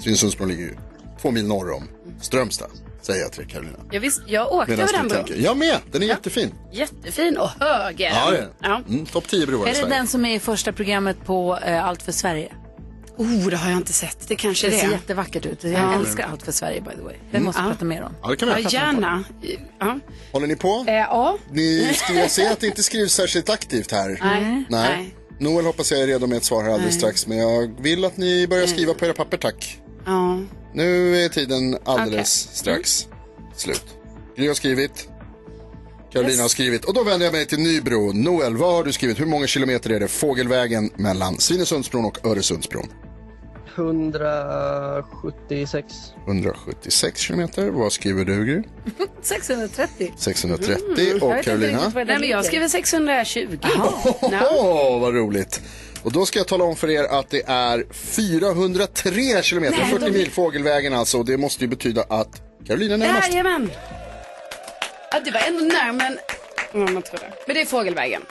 S4: Svinesundsbron ligger ju två mil norr om Strömstad, säger jag till Carolina.
S3: Jag, visst, jag åkte
S4: Medan
S3: över den
S4: du
S3: bron.
S4: tänker. Jag med, den är jättefin.
S3: Jättefin och höger.
S4: Ja, det är den. Mm, Topp 10 broar i
S1: Är det
S4: Sverige.
S1: den som är i första programmet på eh, Allt för Sverige?
S3: Oh, det har jag inte sett. Det kanske
S1: det
S3: är
S1: ser
S3: det.
S1: jättevackert ut. Jag
S3: Ja. Mm.
S1: älskar Allt för Sverige, by the way. Det måste vi prata mer om.
S4: Ja, det kan vi
S3: ja,
S4: göra.
S3: gärna.
S4: Håller ni på?
S3: Eh, ja.
S4: Ni, jag ser att det inte skrivs särskilt aktivt här.
S3: Nej. Nej.
S4: Noel hoppas jag är redo med ett svar här alldeles
S3: Nej.
S4: strax, men jag vill att ni börjar skriva på era papper, tack.
S3: Ja.
S4: Nu är tiden alldeles
S3: Okej. Mm.
S4: strax slut. Gry har skrivit. Carolina har skrivit. Och då vänder jag mig till Nybro. Noel, vad har du skrivit? Hur många kilometer är det fågelvägen mellan Svinesundsbron och Öresundsbron?
S18: 176.
S4: 176 kilometer. Vad skriver du, Gry?
S1: 630.
S4: 630.
S3: Mm, Jag
S4: Och
S3: vet inte
S4: Carolina?
S3: riktigt vad det Nej, men jag skriver 620.
S4: Åh, vad roligt. Och då ska jag tala om för er att det är 403 kilometer,
S3: Nej,
S4: 40
S3: de-
S4: mil fågelvägen alltså. Och det måste ju betyda att Carolina är närmast.
S3: Jajamän. Ja, det var ändå närmare än vad man trodde. Men det är fågelvägen.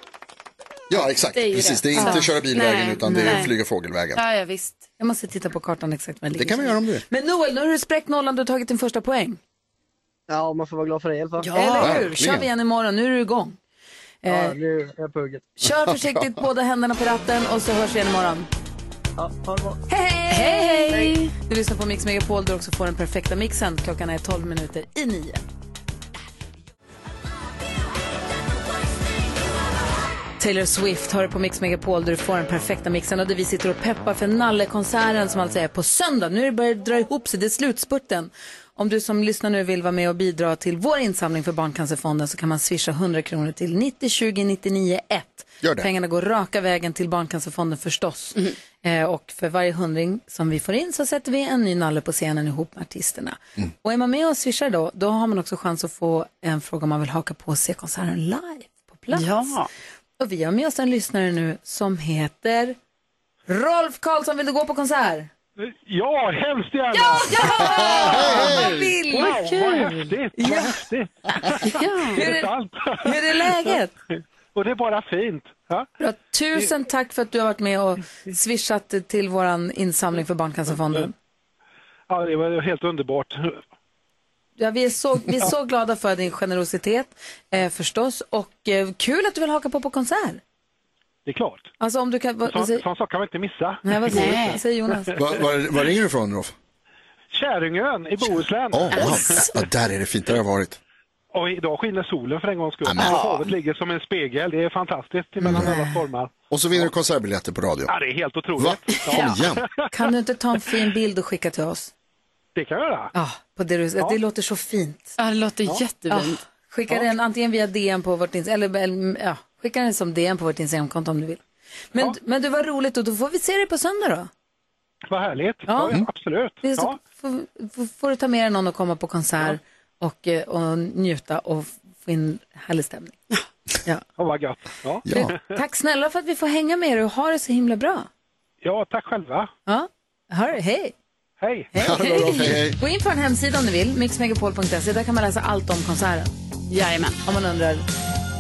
S4: Ja, exakt.
S3: Det är ju
S4: Precis,
S3: det.
S4: det är inte
S3: Ja.
S4: köra bilvägen
S3: Nej,
S4: utan det är
S3: nej.
S4: flyga fågelvägen.
S3: Ja, ja, visst.
S1: Jag måste titta på kartan exakt var
S4: Det kan vi göra om du vill.
S1: Men Noel, nu har du spräckt nollan. Du har tagit din första poäng.
S18: Ja, man får vara glad för det i alla fall.
S1: Ja, Eller hur? Kör vi igen imorgon. Nu är du igång.
S18: Ja,
S1: Eh,
S18: nu är jag på hugget.
S1: kör försiktigt, båda händerna på ratten och så hörs vi igen imorgon.
S18: Ja, ha det bra.
S1: Hej, hej! Du lyssnar på Mix Megapol där du också får den perfekta mixen. Klockan är 12 minuter i nio. Taylor Swift hör på Mix Megapol där du får den perfekta mixen och där vi sitter och peppar för Nallekonserten som alltså är på söndag. Nu börjar det dra ihop sig, det är slutspurten. Om du som lyssnar nu vill vara med och bidra till vår insamling för Barncancerfonden så kan man swisha 100 kronor till 90 20 99 1.
S4: Gör det. Mm.
S1: Pengarna går raka vägen till Barncancerfonden förstås. Eh, och för varje hundring som vi får in så sätter vi en ny nalle på scenen ihop med artisterna.
S4: Mm.
S1: Och är man med och swishar då, då har man också chans att få en fråga om man vill haka på och se konserten live på plats.
S3: Ja.
S1: Och vi har med oss en lyssnare nu som heter Rolf Karlsson. Vill du gå på konsert?
S19: Ja, hemskt gärna!
S1: Ja,
S19: ja!
S1: Jag vill!
S19: Wow,
S1: Vad kul!
S19: vad häftigt! Vad
S1: Ja.
S19: häftigt!
S1: Hur är-
S19: sant.
S1: hur är läget?
S19: Och det är bara fint. Ja?
S1: Bra. Tusen tack för att du har varit med och swishat till vår insamling för Barncancerfonden.
S19: Ja, det var helt underbart.
S1: Ja, vi, är så, vi är så glada för din generositet eh, förstås och eh, kul att du vill haka på på konsert.
S19: Det är klart.
S1: Alltså om du kan... Vad, vad
S19: Sån,
S1: säger,
S19: sån sak kan man inte missa.
S1: nej, vad säger, vad säger Jonas?
S4: Var, var, var ringer du ifrån Rolf?
S19: Käringön i Bohuslän.
S4: Åh, wow. ja, där är det fint, där har jag varit.
S19: Och idag skiner solen för en gångs skull.
S4: Amen.
S19: Havet ligger som en spegel. Det är fantastiskt mellan alla stormar.
S4: Och så vinner du konsertbiljetter på radio.
S19: Ja, det är helt otroligt.
S4: Va? Kom igen.
S1: Kan du inte ta en fin bild och skicka till oss?
S19: Det kan jag göra.
S1: Ja, på det, du, det låter så fint.
S3: Ja, det låter jättefint.
S1: Skicka den antingen via DM på vårt Instagram, eller eller, ja, skicka den som DM på vårt Instagramkonto om du vill. Men, men det var roligt och då får vi se dig på söndag då.
S19: Vad härligt. Ja, absolut.
S1: Vi så, får, får, får du ta med dig någon och komma på konsert och, eh, och njuta och få in härlig stämning. Ja.
S19: Oh, vad gött. Ja.
S1: Du, tack snälla för att vi får hänga med er och ha det så himla bra.
S19: ja, tack själva.
S1: Ja, hör, hej.
S19: Hej.
S1: Hej. Gå in på en hemsida om du vill, mixmegapol.se. Där kan man läsa allt om konserten. Jajamän. Om man undrar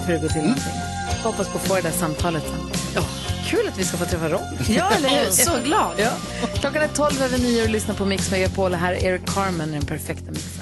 S1: hur det går till.
S3: Mm.
S1: någonting. Hoppas på att få det där samtalet sen. Kul att vi ska få träffa Rob. Ja, eller hur?
S3: Så glad.
S1: Ja. Klockan är 12 över 9 och lyssnar på Mix Megapol. Här är Eric Carmen i den perfekta mixen.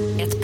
S20: Ett